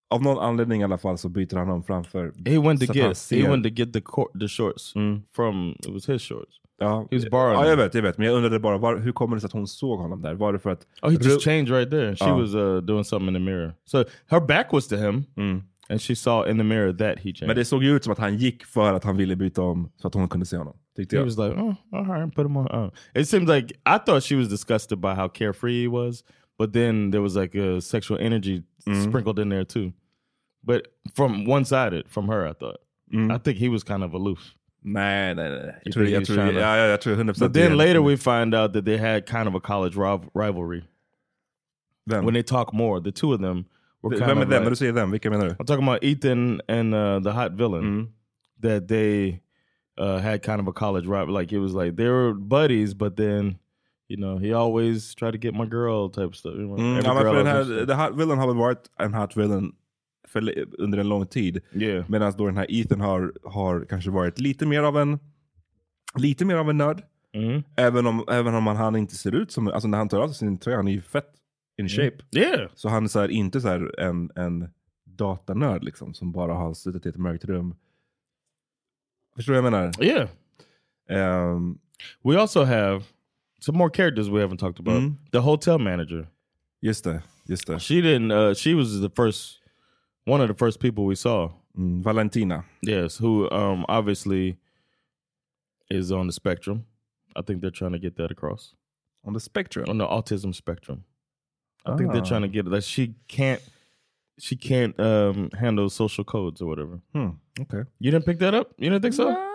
[SPEAKER 2] av någon anledning i alla fall så byter han om framför.
[SPEAKER 1] He went to
[SPEAKER 2] så att
[SPEAKER 1] get
[SPEAKER 2] han
[SPEAKER 1] he
[SPEAKER 2] ser-
[SPEAKER 1] went to get the cor- the shorts from it was his shorts.
[SPEAKER 2] Ja,
[SPEAKER 1] He was borrowing
[SPEAKER 2] ja, jag
[SPEAKER 1] them.
[SPEAKER 2] vet, jag vet. Men jag undrade bara, var, hur kommer det sig att hon såg honom där? Var det för att...
[SPEAKER 1] Oh, he
[SPEAKER 2] Ru-
[SPEAKER 1] just changed right there. She
[SPEAKER 2] Oh.
[SPEAKER 1] was uh, doing something in the mirror. So her back was to him, and she saw in the mirror that he changed.
[SPEAKER 2] Men det såg ju ut som att han gick för att han ville byta om så att hon kunde se honom. Tyckte
[SPEAKER 1] he
[SPEAKER 2] jag.
[SPEAKER 1] was uh." like, "Oh, all right, put him on." Oh. It seems like I thought she was disgusted by how carefree he was, but then there was like a sexual energy sprinkled in there too. But from one sided, from her, I thought. I think he was kind of aloof.
[SPEAKER 2] Nej, nej, nej.
[SPEAKER 1] You
[SPEAKER 2] Jag tror,
[SPEAKER 1] think
[SPEAKER 2] jag
[SPEAKER 1] he's
[SPEAKER 2] tror,
[SPEAKER 1] trying to-
[SPEAKER 2] ja, ja, jag tror 100%
[SPEAKER 1] But
[SPEAKER 2] det är liksom
[SPEAKER 1] then
[SPEAKER 2] en-
[SPEAKER 1] later we find out that they had kind of a college riv rivalry.
[SPEAKER 2] Vem?
[SPEAKER 1] When they talk more, the two of them were kind
[SPEAKER 2] Vem är
[SPEAKER 1] of
[SPEAKER 2] den?
[SPEAKER 1] like-
[SPEAKER 2] När du säger den, vilka menar du?
[SPEAKER 1] I'm talking about Ethan and uh, the hot villain that they uh, had kind of a college rival. Like it was like they were buddies, but then you know he always tried to get my girl type stuff. You know,
[SPEAKER 2] Mm,
[SPEAKER 1] every
[SPEAKER 2] ja, men
[SPEAKER 1] girl
[SPEAKER 2] för den
[SPEAKER 1] I was
[SPEAKER 2] här,
[SPEAKER 1] interested
[SPEAKER 2] the Hot Villain har väl varit en Hot Villain för, under en lång tid.
[SPEAKER 1] in. yeah,
[SPEAKER 2] Medan då den här Ethan har, har kanske varit lite mer av en lite mer av en nörd.
[SPEAKER 1] Mhm.
[SPEAKER 2] Även om, även om han, han inte ser ut som, alltså när han tar av sig sin tröja, han är ju fett
[SPEAKER 1] Mm.
[SPEAKER 2] in shape.
[SPEAKER 1] yeah,
[SPEAKER 2] Så han är så här, inte så här en, en datanörd liksom, som bara har suttit i ett mörkt rum. Förstår du vad jag menar?
[SPEAKER 1] yeah.
[SPEAKER 2] Ehm,
[SPEAKER 1] We also have some more characters we haven't talked about.
[SPEAKER 2] Mhm.
[SPEAKER 1] The hotel manager.
[SPEAKER 2] just det, just det.
[SPEAKER 1] She didn't. Uh, she was the first one of the first people we saw.
[SPEAKER 2] Mm, Valentina.
[SPEAKER 1] Yes, who um obviously is on the spectrum. I think they're trying to get that across.
[SPEAKER 2] On the spectrum.
[SPEAKER 1] on the autism spectrum. I think they're
[SPEAKER 2] Ah.
[SPEAKER 1] trying to get that she can't she can't um handle social codes or whatever.
[SPEAKER 2] Hmm, okay.
[SPEAKER 1] You didn't pick that up? You didn't think so?
[SPEAKER 2] Ah.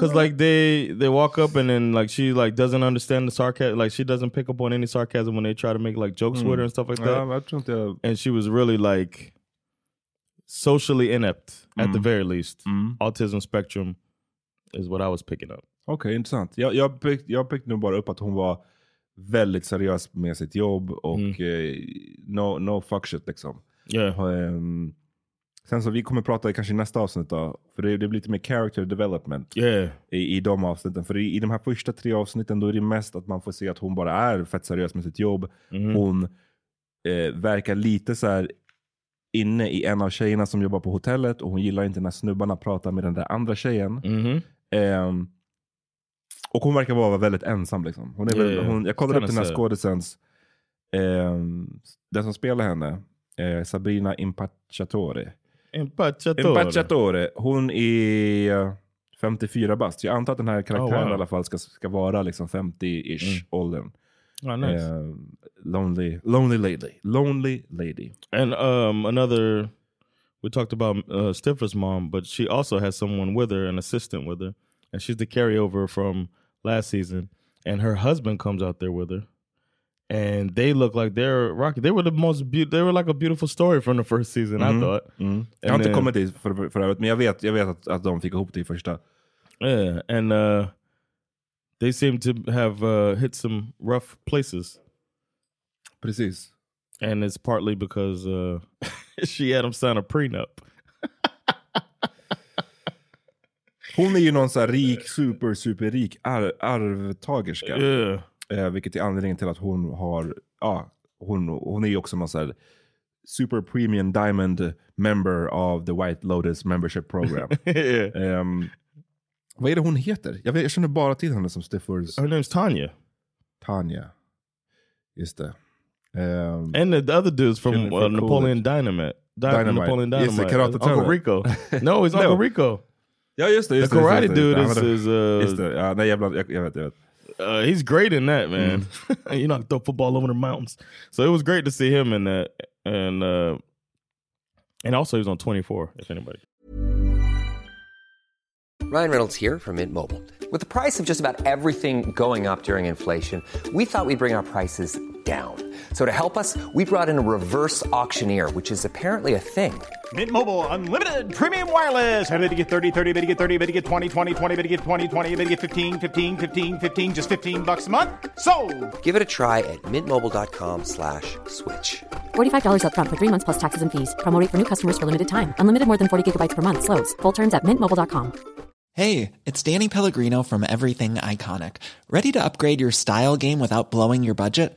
[SPEAKER 1] Cuz like they they walk up and then like she like doesn't understand the sarcasm like she doesn't pick up on any sarcasm when they try to make like jokes with her and stuff like that.
[SPEAKER 2] Ja, men jag tror inte jag...
[SPEAKER 1] and she was really like socially inept at the very least. Autism spectrum is what I was picking up.
[SPEAKER 2] Okej, intressant. Jag, jag, pick, jag pickade nog bara upp att hon var väldigt seriös med sitt jobb och eh, no, no fuck shit liksom.
[SPEAKER 1] Yeah.
[SPEAKER 2] Ehm, sen så vi kommer prata kanske i nästa avsnitt då, för det, det blir lite mer character development
[SPEAKER 1] Yeah.
[SPEAKER 2] i, i de avsnitten. För i, i de här första tre avsnitten då är det mest att man får se att hon bara är fett seriös med sitt jobb.
[SPEAKER 1] Mhm.
[SPEAKER 2] Hon eh, verkar lite så här inne i en av tjejerna som jobbar på hotellet och hon gillar inte när snubbarna pratar med den där andra tjejen.
[SPEAKER 1] Mhm.
[SPEAKER 2] Ehm, och hon verkar vara väldigt ensam. Liksom. Hon är
[SPEAKER 1] Ja,
[SPEAKER 2] väl,
[SPEAKER 1] ja, ja.
[SPEAKER 2] hon, jag kollade upp
[SPEAKER 1] Kinda
[SPEAKER 2] den här
[SPEAKER 1] sad.
[SPEAKER 2] skådisens, ehm, den som spelar henne, eh, Sabrina Impacciatore.
[SPEAKER 1] Impacciatore.
[SPEAKER 2] Impacciatore, hon är eh, 54 bast. Jag antar att den här karaktären
[SPEAKER 1] Oh, wow.
[SPEAKER 2] i alla fall ska, ska vara liksom 50-ish åldern.
[SPEAKER 1] Oh, nice.
[SPEAKER 2] Ehm, lonely, lonely lady. Lonely lady.
[SPEAKER 1] And um, another, we talked about uh, Stiffer's mom, but she also has someone with her, an assistant with her, and she's the carryover from last season. And her husband comes out there with her, and they look like they're rocky. They were the most beautiful. They were like a beautiful story from the first season, I thought.
[SPEAKER 2] Jag har
[SPEAKER 1] And
[SPEAKER 2] inte
[SPEAKER 1] then-
[SPEAKER 2] kommit dit för, för, för övrigt, men jag vet, jag vet att, att de fick ihop det i första.
[SPEAKER 1] Yeah, and uh, they seem to have uh, hit some rough places,
[SPEAKER 2] Precis.
[SPEAKER 1] and it's partly because uh, she had him sign a prenup.
[SPEAKER 2] Hon är ju någon så här rik, super, superrik ar arvtagerska.
[SPEAKER 1] Yeah.
[SPEAKER 2] Eh, vilket är anledningen till att hon har, ja, hon, hon är ju också någon så här super premium diamond member av the White Lotus membership program.
[SPEAKER 1] yeah.
[SPEAKER 2] Ehm, vad är det hon heter? Jag, vet, jag känner bara till henne som Stiffers
[SPEAKER 1] Her name's Tanya.
[SPEAKER 2] Tanya. Just det. Ehm,
[SPEAKER 1] And the, the other dude's from
[SPEAKER 2] Jennifer
[SPEAKER 1] uh, Napoleon Dynamite. Di-
[SPEAKER 2] Dynamite.
[SPEAKER 1] Napoleon
[SPEAKER 2] Yes, the
[SPEAKER 1] Dynamite.
[SPEAKER 2] Karate
[SPEAKER 1] Uncle
[SPEAKER 2] Turtle.
[SPEAKER 1] Rico. No, he's Uncle
[SPEAKER 2] No.
[SPEAKER 1] Rico.
[SPEAKER 2] ja just det.
[SPEAKER 1] The
[SPEAKER 2] Just det,
[SPEAKER 1] Karate
[SPEAKER 2] just det,
[SPEAKER 1] Dude
[SPEAKER 2] just
[SPEAKER 1] is,
[SPEAKER 2] det.
[SPEAKER 1] is
[SPEAKER 2] Just
[SPEAKER 1] uh,
[SPEAKER 2] det. Ja, nej, jag, bland, jag, jag vet. Jag vet.
[SPEAKER 1] uh, he's great in that man.
[SPEAKER 2] Mm-hmm.
[SPEAKER 1] you know, I can throw football over the mountains. So it was great to see him in that, and uh, and also he was on Twenty Four. If anybody,
[SPEAKER 3] Ryan Reynolds here from Mint Mobile. With the price of just about everything going up during inflation, we thought we'd bring our prices down. So to help us, we brought in a reverse auctioneer, which is apparently a thing.
[SPEAKER 4] Mint Mobile unlimited premium wireless. Ready to get 30, 30, bet you get 30, bet you get 20, 20, 20, bet you get 20, 20, bet you get 15, 15, 15, 15 just 15 bucks a month. Sold.
[SPEAKER 3] Give it a try at mintmobile.com slash switch.
[SPEAKER 5] $45 upfront for three months plus taxes and fees. Promo rate for new customers for limited time. Unlimited more than 40 gigabytes per month. Slows. Full terms at mintmobile.com.
[SPEAKER 6] Hey, it's Danny Pellegrino from Everything Iconic. Ready to upgrade your style game without blowing your budget?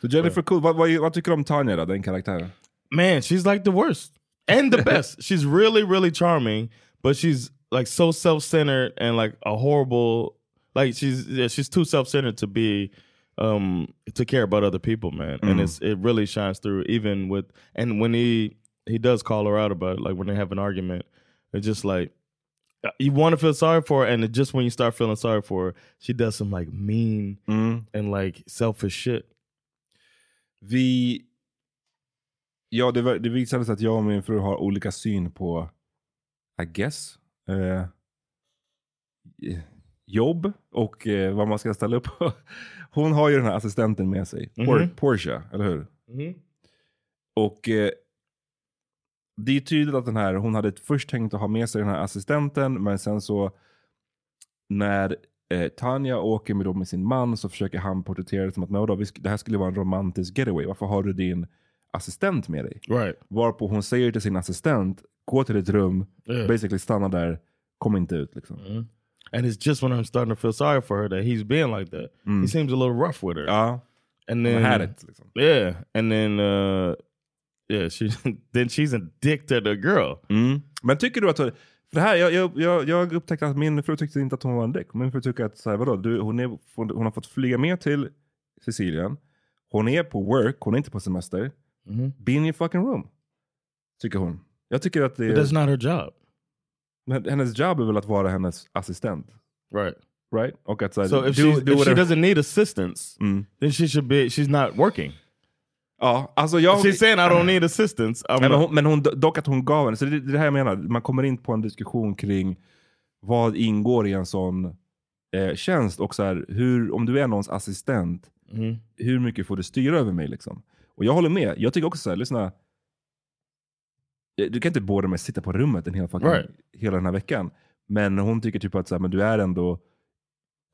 [SPEAKER 2] Så Jennifer Cool, vad, vad, vad tycker du om Tanya då, den karaktären?
[SPEAKER 1] man, she's like the worst and the best. she's really, really charming, but she's like so self centered and like a horrible. Like she's yeah, she's too self centered to be um to care about other people, man. And it's it really shines through even with and when he he does call her out about it, like when they have an argument, it's just like uh, you want to feel sorry for her, and it just when you start feeling sorry for her, she does some like mean and like selfish shit.
[SPEAKER 2] Vi... Ja, det, var- det visade sig att jag och min fru har olika syn på, I guess, eh, jobb och eh, vad man ska ställa upp på. Hon har ju den här assistenten med sig, Por
[SPEAKER 1] Mhm.
[SPEAKER 2] Portia, eller hur? Och eh, det är tydligt att den här, hon hade först tänkt att ha med sig den här assistenten, men sen så när eh, Tanja åker med, då med sin man så försöker han porträttera det som att "Men vadå, vi sk- det här skulle vara en romantisk getaway. Varför har du din assistent med dig?
[SPEAKER 1] Right.
[SPEAKER 2] Varpå hon säger till sin assistent, gå till ditt rum,
[SPEAKER 1] Yeah.
[SPEAKER 2] basically stanna där, kom inte ut. Liksom.
[SPEAKER 1] And it's just when I'm starting to feel sorry for her that he's being like that. He seems a little rough with her.
[SPEAKER 2] Ja,
[SPEAKER 1] and
[SPEAKER 2] hon
[SPEAKER 1] then
[SPEAKER 2] Mm. Uh-huh. had it. Liksom.
[SPEAKER 1] Yeah, and then uh yeah, she then she's a dick to the girl.
[SPEAKER 2] Mm. Men tycker du att... För det här, jag, jag, jag, jag upptäckte att min fru tyckte inte att hon var en däck. Min fru tycker att så här, vadå, du, hon, är, hon har fått flyga med till Sicilien. Hon är på work, hon är inte på semester.
[SPEAKER 1] Mm-hmm.
[SPEAKER 2] Be in your fucking room. Tycker hon. Jag tycker att det
[SPEAKER 1] But
[SPEAKER 2] är,
[SPEAKER 1] that's not her job.
[SPEAKER 2] men hennes jobb är väl att vara hennes assistent.
[SPEAKER 1] Right.
[SPEAKER 2] Right? Och att så här,
[SPEAKER 1] So if,
[SPEAKER 2] do-
[SPEAKER 1] she's-
[SPEAKER 2] do
[SPEAKER 1] if she
[SPEAKER 2] whatever- Mm.
[SPEAKER 1] doesn't need assistance, then she should be she's not working.
[SPEAKER 2] Ja, alltså jag...
[SPEAKER 1] She's saying I don't need assistance. I'm
[SPEAKER 2] Nej, men,
[SPEAKER 1] not-
[SPEAKER 2] hon, men hon, dock att hon gav henne. Så det det är det här jag menar. Man kommer in på en diskussion kring vad ingår i en sån eh, tjänst och så här, hur, om du är någons assistent, hur mycket får du styra över mig? Liksom? Och jag håller med. Jag tycker också så här, lyssna. Eh, Du kan inte båda med sitta på rummet en hel fucking,
[SPEAKER 1] Right.
[SPEAKER 2] hela den här veckan. Men hon tycker typ att så här, men du är ändå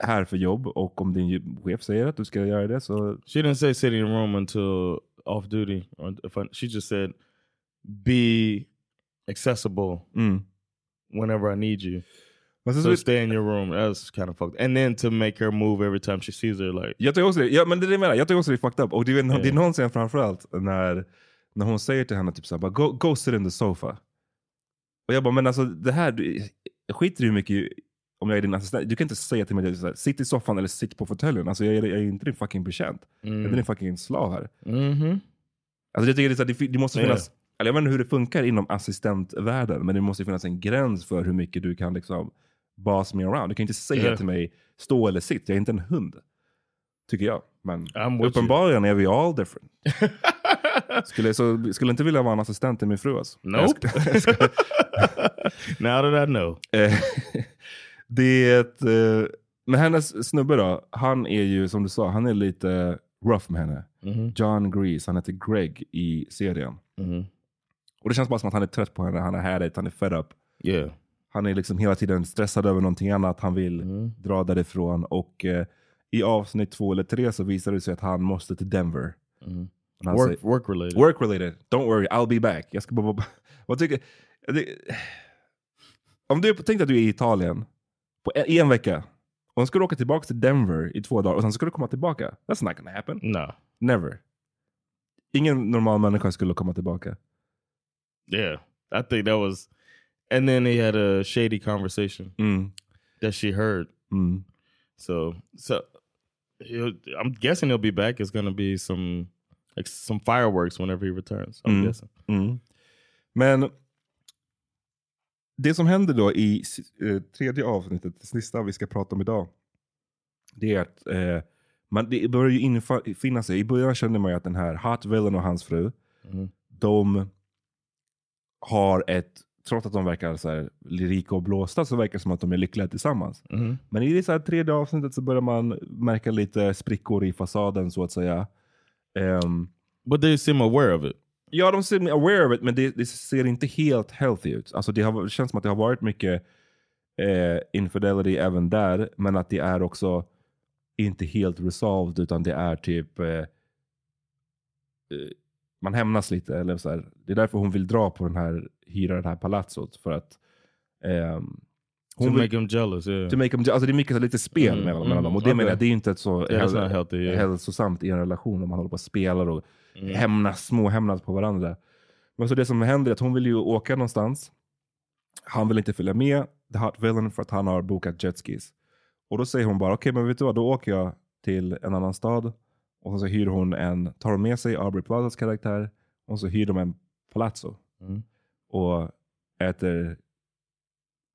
[SPEAKER 2] här för jobb och om din chef säger att du ska göra det så...
[SPEAKER 1] she didn't say sit in your room until off duty. Or if I, she just said be accessible
[SPEAKER 2] Mm.
[SPEAKER 1] whenever I need you.
[SPEAKER 2] Men sen
[SPEAKER 1] So
[SPEAKER 2] så
[SPEAKER 1] stay in your room. That's kind of fucked. And then to make her move every time she sees her, like
[SPEAKER 2] Jag tycker också det. Ja, men det är det jag menar. Jag tycker också det är fucked up. Och det är,
[SPEAKER 1] Ja.
[SPEAKER 2] det är någon scen framförallt när, när hon säger till henne typ såhär, bara, go, go sit in the sofa. Och jag bara, men alltså det här, du, jag skiter i hur mycket i- om jag är din assistent. Du kan inte säga till mig att jag- så här, sitt i soffan eller sitt på fåtöljen. Alltså jag är, jag är inte din fucking betjänt.
[SPEAKER 1] Mm.
[SPEAKER 2] Jag är din fucking slav här.
[SPEAKER 1] mm-hmm.
[SPEAKER 2] Alltså jag tycker det, är så här, det, fi- det måste
[SPEAKER 1] Ja.
[SPEAKER 2] finnas, eller jag vet inte hur det funkar inom assistentvärlden, men det måste finnas en gräns för hur mycket du kan liksom boss me around. Du kan inte säga
[SPEAKER 1] Ja.
[SPEAKER 2] till mig, stå eller sitt. Jag är inte en hund. Tycker jag. Men
[SPEAKER 1] I'm with you.
[SPEAKER 2] uppenbarligen är vi all different. skulle, så, skulle inte vilja vara en assistent till min fru alltså.
[SPEAKER 1] Nope. now that I know.
[SPEAKER 2] Eh, det är ett, eh, men hennes snubbe då, han är ju som du sa, han är lite rough med henne.
[SPEAKER 1] Mm-hmm.
[SPEAKER 2] John Grease, han heter Greg i serien. Och det känns bara som att han är trött på henne, han är härligt, han är fed up.
[SPEAKER 1] Yeah.
[SPEAKER 2] Han är liksom hela tiden stressad över någonting annat, han vill
[SPEAKER 1] Mm-hmm.
[SPEAKER 2] dra därifrån. Och eh, i avsnitt två eller tre så visar det sig att han måste till Denver. Alltså, Och han
[SPEAKER 1] Mm-hmm. Work
[SPEAKER 2] säger-
[SPEAKER 1] work related.
[SPEAKER 2] Work related. Don't worry, I'll be back. Jag ska bara... Vad tycker... Det, om du tänkte att du är i Italien på en, i en vecka. Och sen ska du åka tillbaka till Denver i två dagar och sen ska du komma tillbaka. That's not gonna happen.
[SPEAKER 1] No.
[SPEAKER 2] Never. Ingen normal människa skulle komma tillbaka.
[SPEAKER 1] Yeah. I think that was and then they had a shady conversation
[SPEAKER 2] Mm.
[SPEAKER 1] that she heard.
[SPEAKER 2] Mm.
[SPEAKER 1] So so he'll, I'm guessing he'll be back. It's gonna be some like some fireworks whenever he returns. I'm
[SPEAKER 2] Mm.
[SPEAKER 1] guessing.
[SPEAKER 2] Mm. Men det som händer då i eh, tredje avsnittet, det sista vi ska prata om idag, det är att eh, man, det börjar ju infinna sig. I början kände man ju att den här Hot Villain och hans fru, de har ett trots att de verkar så här lirika och blåsta så verkar det som att de är lyckliga tillsammans. Men i det så här tredje avsnittet så börjar man märka lite sprickor i fasaden så att säga. Ehm,
[SPEAKER 1] But they seem aware of it.
[SPEAKER 2] ja, de ser aware of it, men det, det ser inte helt healthy ut. Alltså det, har, det känns som att det har varit mycket eh, infidelity även där, men att det är också inte helt resolved, utan det är typ eh, eh, man hämnas lite. Eller så här. Det är därför hon vill dra på den här, hyra det här palatsot. För att ehm,
[SPEAKER 1] To
[SPEAKER 2] hon vill,
[SPEAKER 1] make them jealous. Yeah.
[SPEAKER 2] to make them, alltså det är mycket så här lite spel
[SPEAKER 1] Mm,
[SPEAKER 2] mellan,
[SPEAKER 1] mm,
[SPEAKER 2] mellan dem. Och det
[SPEAKER 1] okej.
[SPEAKER 2] menar jag, det är ju inte ett så
[SPEAKER 1] Yeah, that's
[SPEAKER 2] hel-
[SPEAKER 1] not healthy, yeah.
[SPEAKER 2] hälsosamt i en relation om man håller på och spelar och
[SPEAKER 1] Mm.
[SPEAKER 2] hämnas, små hämnas på varandra. Men så det som händer är att hon vill ju åka någonstans. Han vill inte följa med The Hot Villain för att han har bokat jetskis. Och då säger hon bara, okej men vet du vad, då åker jag till en annan stad. Och sen så hyr hon en, tar hon med sig Aubrey Plazas karaktär. Och så hyr de en palazzo.
[SPEAKER 1] Mm.
[SPEAKER 2] Och äter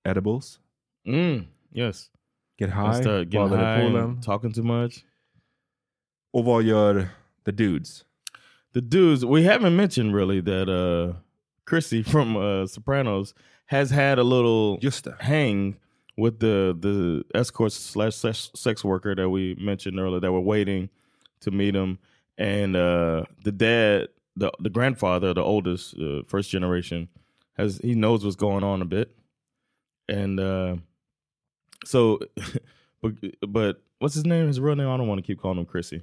[SPEAKER 2] edibles.
[SPEAKER 1] Mm, yes.
[SPEAKER 2] Get
[SPEAKER 1] I
[SPEAKER 2] high,
[SPEAKER 1] start getting
[SPEAKER 2] badar i
[SPEAKER 1] high
[SPEAKER 2] poolen.
[SPEAKER 1] and talking too much.
[SPEAKER 2] Och vad gör the dudes?
[SPEAKER 1] The dudes we haven't mentioned really that uh Chrissy from uh Sopranos has had a little
[SPEAKER 2] Just det.
[SPEAKER 1] hang with the the escorts slash sex, sex worker that we mentioned earlier that were waiting to meet him and uh the dad the the grandfather the oldest uh, first generation has he knows what's going on a bit and uh so but but what's his name his real name I don't want to keep calling him Chrissy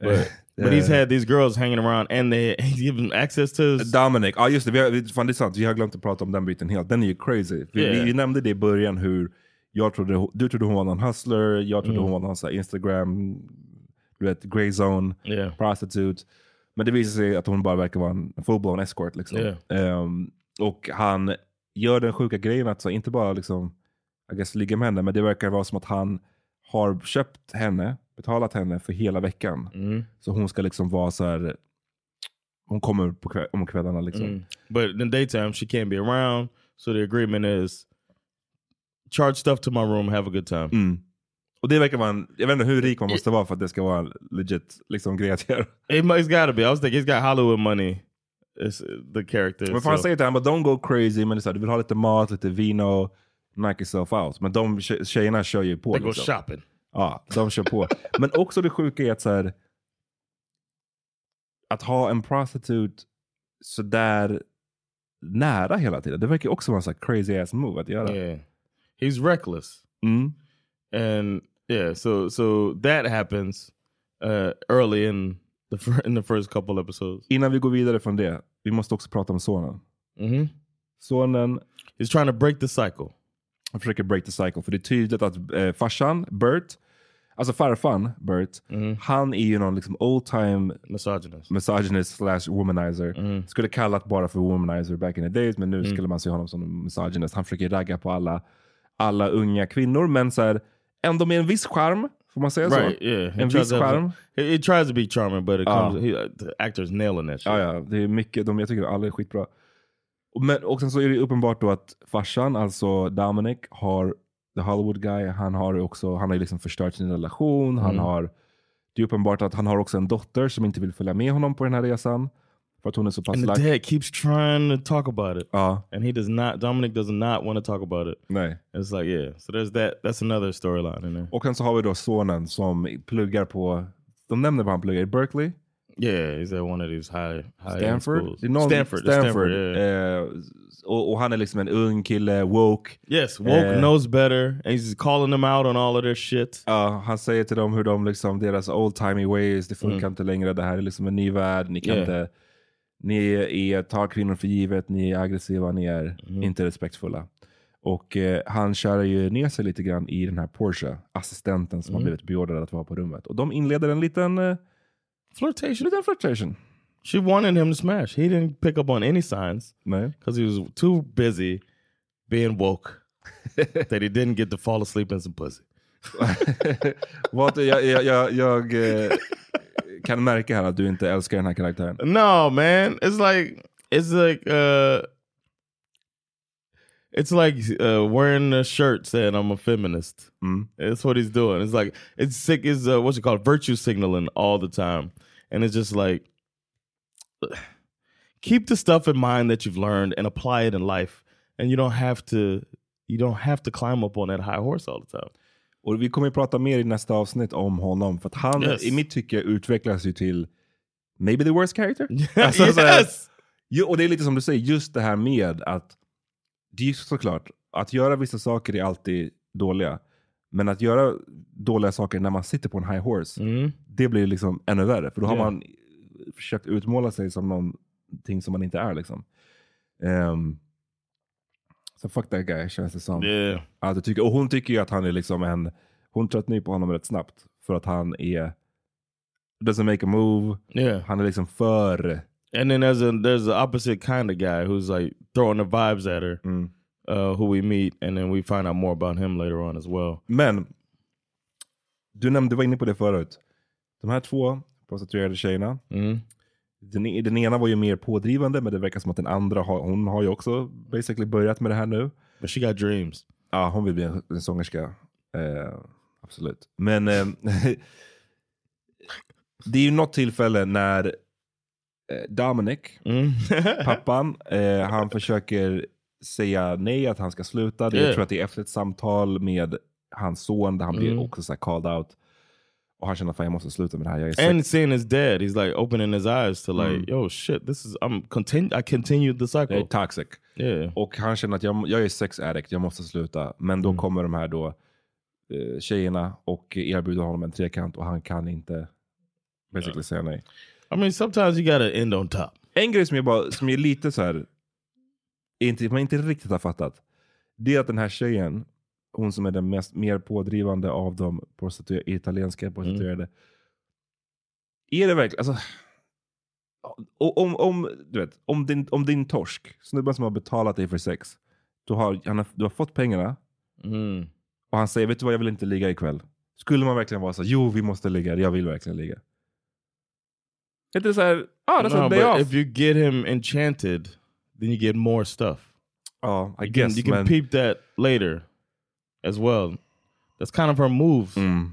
[SPEAKER 1] but but he's
[SPEAKER 2] Eh,
[SPEAKER 1] had these girls hanging around and they he's given access to his,
[SPEAKER 2] Dominic, ja ah, just det, vi har, vi- fan, det är sant. Vi har glömt att prata om den biten helt. Den är ju crazy. Vi,
[SPEAKER 1] Yeah.
[SPEAKER 2] vi, vi nämnde det i början hur jag trodde, hon- du trodde hon var någon hustler, jag trodde hon var någon så här Instagram, du vet, grey zone,
[SPEAKER 1] Yeah.
[SPEAKER 2] prostitute. Men det visar sig att hon bara verkar vara en full-blown escort. Liksom.
[SPEAKER 1] Yeah.
[SPEAKER 2] Ehm, och han gör den sjuka grejen att så, inte bara liksom, I guess, ligga med henne, men det verkar vara som att han har köpt henne, betalat henne för hela veckan.
[SPEAKER 1] Mm.
[SPEAKER 2] Så hon ska liksom vara så här. Hon kommer på kväll, om kvällarna liksom.
[SPEAKER 1] Mm. But in the daytime, she can't be around. So the agreement is charge stuff to my room, have a good time.
[SPEAKER 2] Mm. Och det verkar vara en, jag vet inte hur rik man måste vara för att det ska vara en legit liksom, grej att göra.
[SPEAKER 1] It, mu- it's got to be. I was thinking it's got Hollywood money. It's uh, the character.
[SPEAKER 2] Men för han
[SPEAKER 1] so-
[SPEAKER 2] säger till honom, don't go crazy, men det är så här, du vill ha lite mat, lite vino, knock yourself out. Men de tje- tjejerna kör ju på.
[SPEAKER 1] they go
[SPEAKER 2] liksom.
[SPEAKER 1] shopping.
[SPEAKER 2] Ja, de kör på. Men också det sjuka är att så här, att ha en prostitute så där nära hela tiden, det verkar också vara en så här crazy ass move att göra.
[SPEAKER 1] Yeah. He's reckless.
[SPEAKER 2] Mm.
[SPEAKER 1] and yeah, so so that happens uh, early in the fir- in the first couple episodes.
[SPEAKER 2] Innan vi går vidare från det, vi måste också prata om sonen.
[SPEAKER 1] hmm
[SPEAKER 2] Sonen
[SPEAKER 1] He's trying to break the cycle.
[SPEAKER 2] Han försöker break the cycle. För det är tydligt att eh, farsan, Bert, alltså farfan Bert, han är ju någon liksom old time
[SPEAKER 1] Misogynist.
[SPEAKER 2] misogynist slash womanizer. Skulle kallat bara för womanizer back in the days, men nu skulle man se honom som en misogynist. Han försöker ragga på alla, alla unga kvinnor, men så här, ändå med en viss charm. Får man säga
[SPEAKER 1] Right,
[SPEAKER 2] så?
[SPEAKER 1] yeah. He
[SPEAKER 2] En
[SPEAKER 1] tries,
[SPEAKER 2] viss
[SPEAKER 1] to
[SPEAKER 2] charm.
[SPEAKER 1] have- he, he tries to be charming, but it comes.
[SPEAKER 2] Ah.
[SPEAKER 1] he, uh, the actor's nailing that shit.
[SPEAKER 2] Ja, ja, det är mycket. De, jag tycker alla är skitbra. Och Men, och sen så är det uppenbart då att farsan, alltså Dominic, har the Hollywood guy. Han har också, han har ju liksom förstört sin relation. Han har, det är uppenbart att han har också en dotter som inte vill följa med honom på den här resan. För att hon är så pass
[SPEAKER 1] And the
[SPEAKER 2] lack.
[SPEAKER 1] dad keeps trying to talk about it,
[SPEAKER 2] Ja,
[SPEAKER 1] and he does not. Dominic does not want to talk about it.
[SPEAKER 2] nej.
[SPEAKER 1] And It's like yeah. So there's that. That's another storyline in there.
[SPEAKER 2] Och sen så har vi då sonen som pluggar på, de nämner vad han pluggar i Berkeley,
[SPEAKER 1] Yeah, he's at one of these high high
[SPEAKER 2] Stanford.
[SPEAKER 1] schools.
[SPEAKER 2] Det är någon-
[SPEAKER 1] Stanford. Stanford. yeah.
[SPEAKER 2] Eh, och, och han är liksom en ung kille, woke.
[SPEAKER 1] Yes, woke
[SPEAKER 2] Eh.
[SPEAKER 1] knows better, and he's calling them out on all of their shit.
[SPEAKER 2] Ja, han säger till dem hur de liksom, deras old timey ways, det funkar inte längre, det här är liksom en ny värld, ni kan
[SPEAKER 1] Yeah.
[SPEAKER 2] inte, ni är, tar kvinnor för givet, ni är aggressiva, ni är inte respektfulla. Och eh, han kör ju ner sig lite grann i den här Porsche, assistenten som har blivit beordrad att vara på rummet. Och de inleder en liten, eh,
[SPEAKER 1] Flirtation.
[SPEAKER 2] liten flirtation.
[SPEAKER 1] She wanted him to smash. He didn't pick up on any signs
[SPEAKER 2] Nej.
[SPEAKER 1] because he was too busy being woke that he didn't get to fall asleep in some pussy.
[SPEAKER 2] Vad, jag jag, jag, jag eh, kan märka här att du inte älskar den här karaktären.
[SPEAKER 1] No, man, it's like it's like uh, it's like uh, wearing a shirt saying I'm a feminist.
[SPEAKER 2] Mm.
[SPEAKER 1] That's what he's doing. It's like it's sick. Is uh, what's it called? Virtue signaling all the time, and it's just like keep the stuff in mind that you've learned and apply it in life, and you don't have to you don't have to climb up on that high horse all the time.
[SPEAKER 2] Och vi kommer ju prata mer i nästa avsnitt om honom. För att han,
[SPEAKER 1] Yes.
[SPEAKER 2] i mitt tycke, utvecklas ju till maybe the worst character.
[SPEAKER 1] Yes!
[SPEAKER 2] så här, ju, och det är lite som du säger, just det här med att, det är ju såklart, att göra vissa saker är alltid dåliga. Men att göra dåliga saker när man sitter på en high horse,
[SPEAKER 1] Mm.
[SPEAKER 2] det blir liksom ännu värre. För då har
[SPEAKER 1] Ja.
[SPEAKER 2] man försökt utmåla sig som någonting som man inte är. Liksom. Ehm, så fuck that guy, känns det som.
[SPEAKER 1] Yeah.
[SPEAKER 2] Alltså, tycker, och hon tycker ju att han är liksom en... Hon tröttnar ju på honom rätt snabbt. För att han är... Doesn't make a move.
[SPEAKER 1] Yeah.
[SPEAKER 2] Han är liksom för...
[SPEAKER 1] And then there's a there's the opposite kind of guy who's like throwing the vibes at her,
[SPEAKER 2] Mm.
[SPEAKER 1] uh, who we meet, and then we find out more about him later on as well.
[SPEAKER 2] Men, du nämnde, du var inne på det förut. De här två prostituerade tjejerna.
[SPEAKER 1] Mm.
[SPEAKER 2] Den, e- den ena var ju mer pådrivande, men det verkar som att den andra har, hon har ju också basically börjat med det här nu.
[SPEAKER 1] But she got dreams.
[SPEAKER 2] Ja, hon vill bli en, en sångerska. Eh, absolut. Men eh, det är ju något tillfälle när eh, Dominic,
[SPEAKER 1] Mm.
[SPEAKER 2] pappan, eh, han försöker säga nej, att han ska sluta. Det,
[SPEAKER 1] Yeah.
[SPEAKER 2] Jag tror att det är efter ett samtal med hans son, där han blir
[SPEAKER 1] Mm.
[SPEAKER 2] också så här called out. Och han känner att jag måste sluta med det här. Jag är sex-
[SPEAKER 1] and seeing his dad, he's like opening his eyes to like,
[SPEAKER 2] Mm.
[SPEAKER 1] yo, shit, this is I'm continu I continued the
[SPEAKER 2] jag är
[SPEAKER 1] cycle.
[SPEAKER 2] Eh, toxic.
[SPEAKER 1] Yeah.
[SPEAKER 2] Och han känner att jag, jag är sex addict, jag måste sluta. Men då
[SPEAKER 1] Mm.
[SPEAKER 2] kommer de här då, eh, tjejerna och erbjuder honom en trekant och han kan inte basically säga nej.
[SPEAKER 1] I mean, sometimes you gotta end on top.
[SPEAKER 2] En grej som jag, bara, som är lite så här, inte, man inte riktigt har fattat. Det är att den här tjejen, hon som är den mest, mer pådrivande av de prostituer- italienska prostituerade. Är det verkligen, alltså. o- Om, om, du vet, om, din, om din torsk, snubben som har betalat dig för sex. Du har, han har, du har fått pengarna
[SPEAKER 1] Mm.
[SPEAKER 2] och han säger, vet du vad, jag vill inte ligga ikväll. Skulle man verkligen vara så, jo vi måste ligga, jag vill verkligen ligga. Är det så här, ah, that's a
[SPEAKER 1] No,
[SPEAKER 2] day
[SPEAKER 1] but
[SPEAKER 2] off.
[SPEAKER 1] if you get him enchanted, then you get more stuff.
[SPEAKER 2] Ja, I
[SPEAKER 1] You can-
[SPEAKER 2] guess.
[SPEAKER 1] you can
[SPEAKER 2] men,
[SPEAKER 1] peep that later, as well. That's kind of her move.
[SPEAKER 2] mm.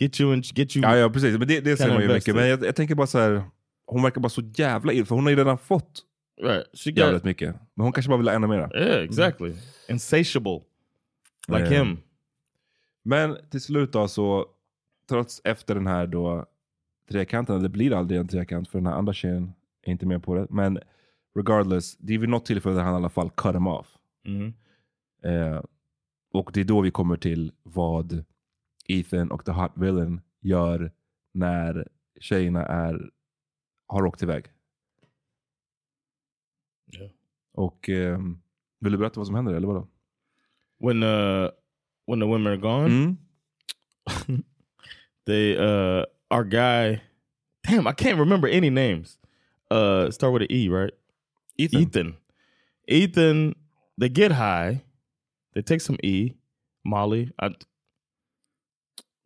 [SPEAKER 1] Get you and get you.
[SPEAKER 2] ja, ja, precis. Men det, det ser
[SPEAKER 1] Kind
[SPEAKER 2] man ju
[SPEAKER 1] of
[SPEAKER 2] mycket. Men jag, jag tänker bara så här. Hon verkar bara så jävla ill, för hon har ju redan fått
[SPEAKER 1] Right. She got.
[SPEAKER 2] jävligt mycket. Men hon kanske bara vill ha ännu mera.
[SPEAKER 1] Yeah, exactly. Insatiable, like
[SPEAKER 2] Yeah.
[SPEAKER 1] him.
[SPEAKER 2] Men till slut då så, trots efter den här då trekanten, det blir aldrig en trekant för den här andra tjejen är inte med på det. Men regardless, det är vid något tillfälle där han i alla fall cut him off.
[SPEAKER 1] Mhm.
[SPEAKER 2] Eh, och det är då vi kommer till vad Ethan och The Hot Villain gör när tjejerna är, har åkt iväg.
[SPEAKER 1] Ja.
[SPEAKER 2] Och ehm, vill du berätta vad som händer eller vadå?
[SPEAKER 1] When uh, when the women are gone,
[SPEAKER 2] Mm.
[SPEAKER 1] they uh, our guy. Damn, I can't remember any names. Uh, start with an E, right?
[SPEAKER 2] Ethan.
[SPEAKER 1] Ethan. Ethan, they get high. They take some E. Molly. I,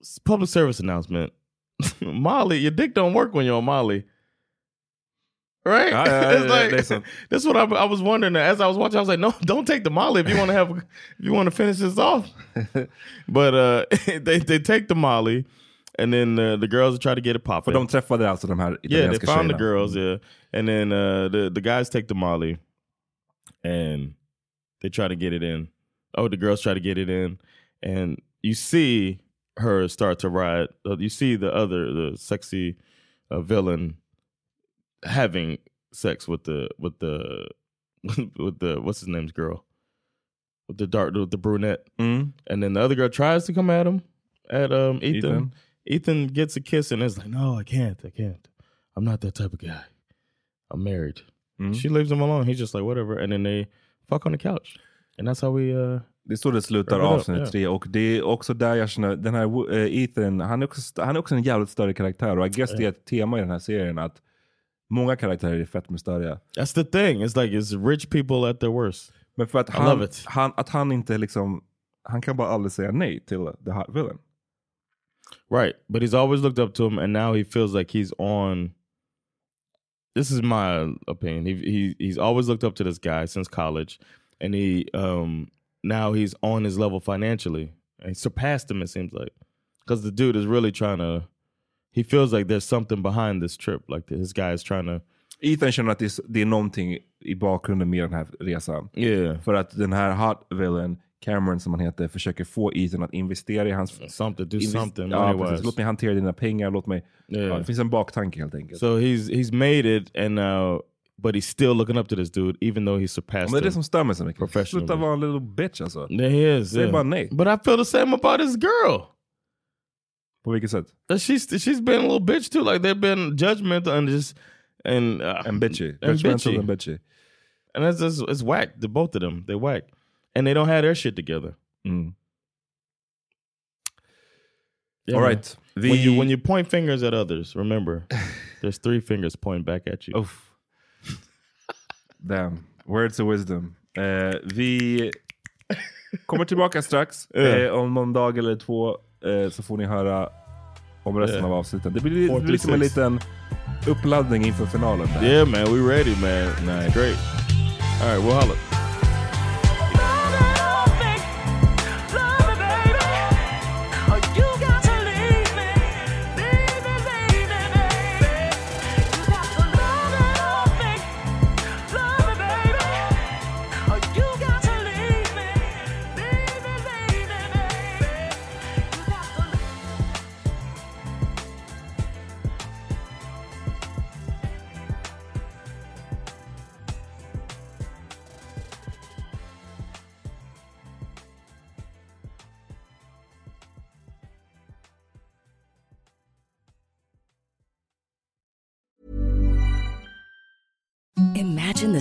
[SPEAKER 1] s- public service announcement. Molly, your dick don't work when you're on Molly. Right?
[SPEAKER 2] Ja, ja, ja,
[SPEAKER 1] It's
[SPEAKER 2] ja,
[SPEAKER 1] like-
[SPEAKER 2] det är sant.
[SPEAKER 1] that's what I, I was wondering. As I was watching, I was like, no, don't take the Molly if you want to have, if you want to finish this off. but uh, they, they take the Molly and then uh, the girls try to get it
[SPEAKER 2] För
[SPEAKER 1] popping.
[SPEAKER 2] de träffade alltså de här
[SPEAKER 1] Yeah,
[SPEAKER 2] italienska
[SPEAKER 1] they found the
[SPEAKER 2] tjejerna.
[SPEAKER 1] girls. Yeah, and then uh, the the guys take the Molly, and they try to get it in. Oh, the girls try to get it in, and you see her start to ride. uh, You see the other the sexy uh, villain having sex with the with the with the what's his name's girl with the dark with the brunette,
[SPEAKER 2] Mm.
[SPEAKER 1] and then the other girl tries to come at him at um Ethan.
[SPEAKER 2] Ethan.
[SPEAKER 1] Ethan gets a kiss and is like, "No, I can't. I can't. I'm not that type of guy. I'm married."
[SPEAKER 2] Mm.
[SPEAKER 1] She leaves him alone. He's just like, "Whatever." And then they fuck on the couch, and that's how we. uh
[SPEAKER 2] Det är så det slutar
[SPEAKER 1] Wrap it up,
[SPEAKER 2] avsnitt
[SPEAKER 1] yeah.
[SPEAKER 2] tre. Och det är också där jag känner, den här eh, Ethan, han är, också, st- han är också en jävligt större karaktär. Och I guess det är ett tema i den här serien att många karaktärer är fett med större.
[SPEAKER 1] That's the thing. It's like it's rich people at their worst.
[SPEAKER 2] Men för att
[SPEAKER 1] I
[SPEAKER 2] han,
[SPEAKER 1] love it.
[SPEAKER 2] han, att han inte liksom, han kan bara aldrig säga nej till the hot villain.
[SPEAKER 1] Right. But he's always looked up to him, and now he feels like he's on. This is my opinion. He, he he's always looked up to this guy since college, and he um now he's on his level financially. And he surpassed him. It seems like because the dude is really trying to. He feels like there's something behind this trip. Like this guy is trying to
[SPEAKER 2] Ethan känner att det är, det är någonting i bakgrunden med den här resan.
[SPEAKER 1] Yeah.
[SPEAKER 2] För att den här hot villain, Cameron som han heter, försöker få Ethan att investera i hans...
[SPEAKER 1] Something, do
[SPEAKER 2] invest-
[SPEAKER 1] something
[SPEAKER 2] Ja,
[SPEAKER 1] money-wise.
[SPEAKER 2] precis. Låt mig hantera dina pengar, låt mig...
[SPEAKER 1] Yeah.
[SPEAKER 2] Ja, det finns en baktanke helt enkelt.
[SPEAKER 1] So he's he's made it, and now, but he's still looking up to this dude, even though he surpassed
[SPEAKER 2] Men det är det
[SPEAKER 1] him.
[SPEAKER 2] som stör mig så mycket.
[SPEAKER 1] Professionally. Mm.
[SPEAKER 2] Sluta vara en little bitch alltså.
[SPEAKER 1] There he is.
[SPEAKER 2] Säg
[SPEAKER 1] yeah.
[SPEAKER 2] bara nej.
[SPEAKER 1] But I feel the same about his girl.
[SPEAKER 2] På vilket sätt?
[SPEAKER 1] That she's she's been a little bitch too. Like they've been judgmental and just and uh,
[SPEAKER 2] En bitchy.
[SPEAKER 1] and
[SPEAKER 2] Judgmental
[SPEAKER 1] bitchy.
[SPEAKER 2] and bitchy.
[SPEAKER 1] And that's just it's whack. The both of them, they whack, and they don't have their shit together.
[SPEAKER 2] Mm.
[SPEAKER 1] Yeah,
[SPEAKER 2] All
[SPEAKER 1] man.
[SPEAKER 2] right. Vi...
[SPEAKER 1] When you when you point fingers at others, remember there's three fingers pointing back at you.
[SPEAKER 2] Oof. Damn. Words of wisdom. Eh, vi kommer tillbaka strax.
[SPEAKER 1] Ja.
[SPEAKER 2] Eh, om någon dag eller två eh, så får ni höra om resten
[SPEAKER 1] Ja.
[SPEAKER 2] av avsnitten. Det blir li-
[SPEAKER 1] 46.
[SPEAKER 2] liksom en liten uppladdning inför finalen. Där.
[SPEAKER 1] Yeah, man, we ready, man. Nice, great. All right, we'll holler.
[SPEAKER 7] Imagine the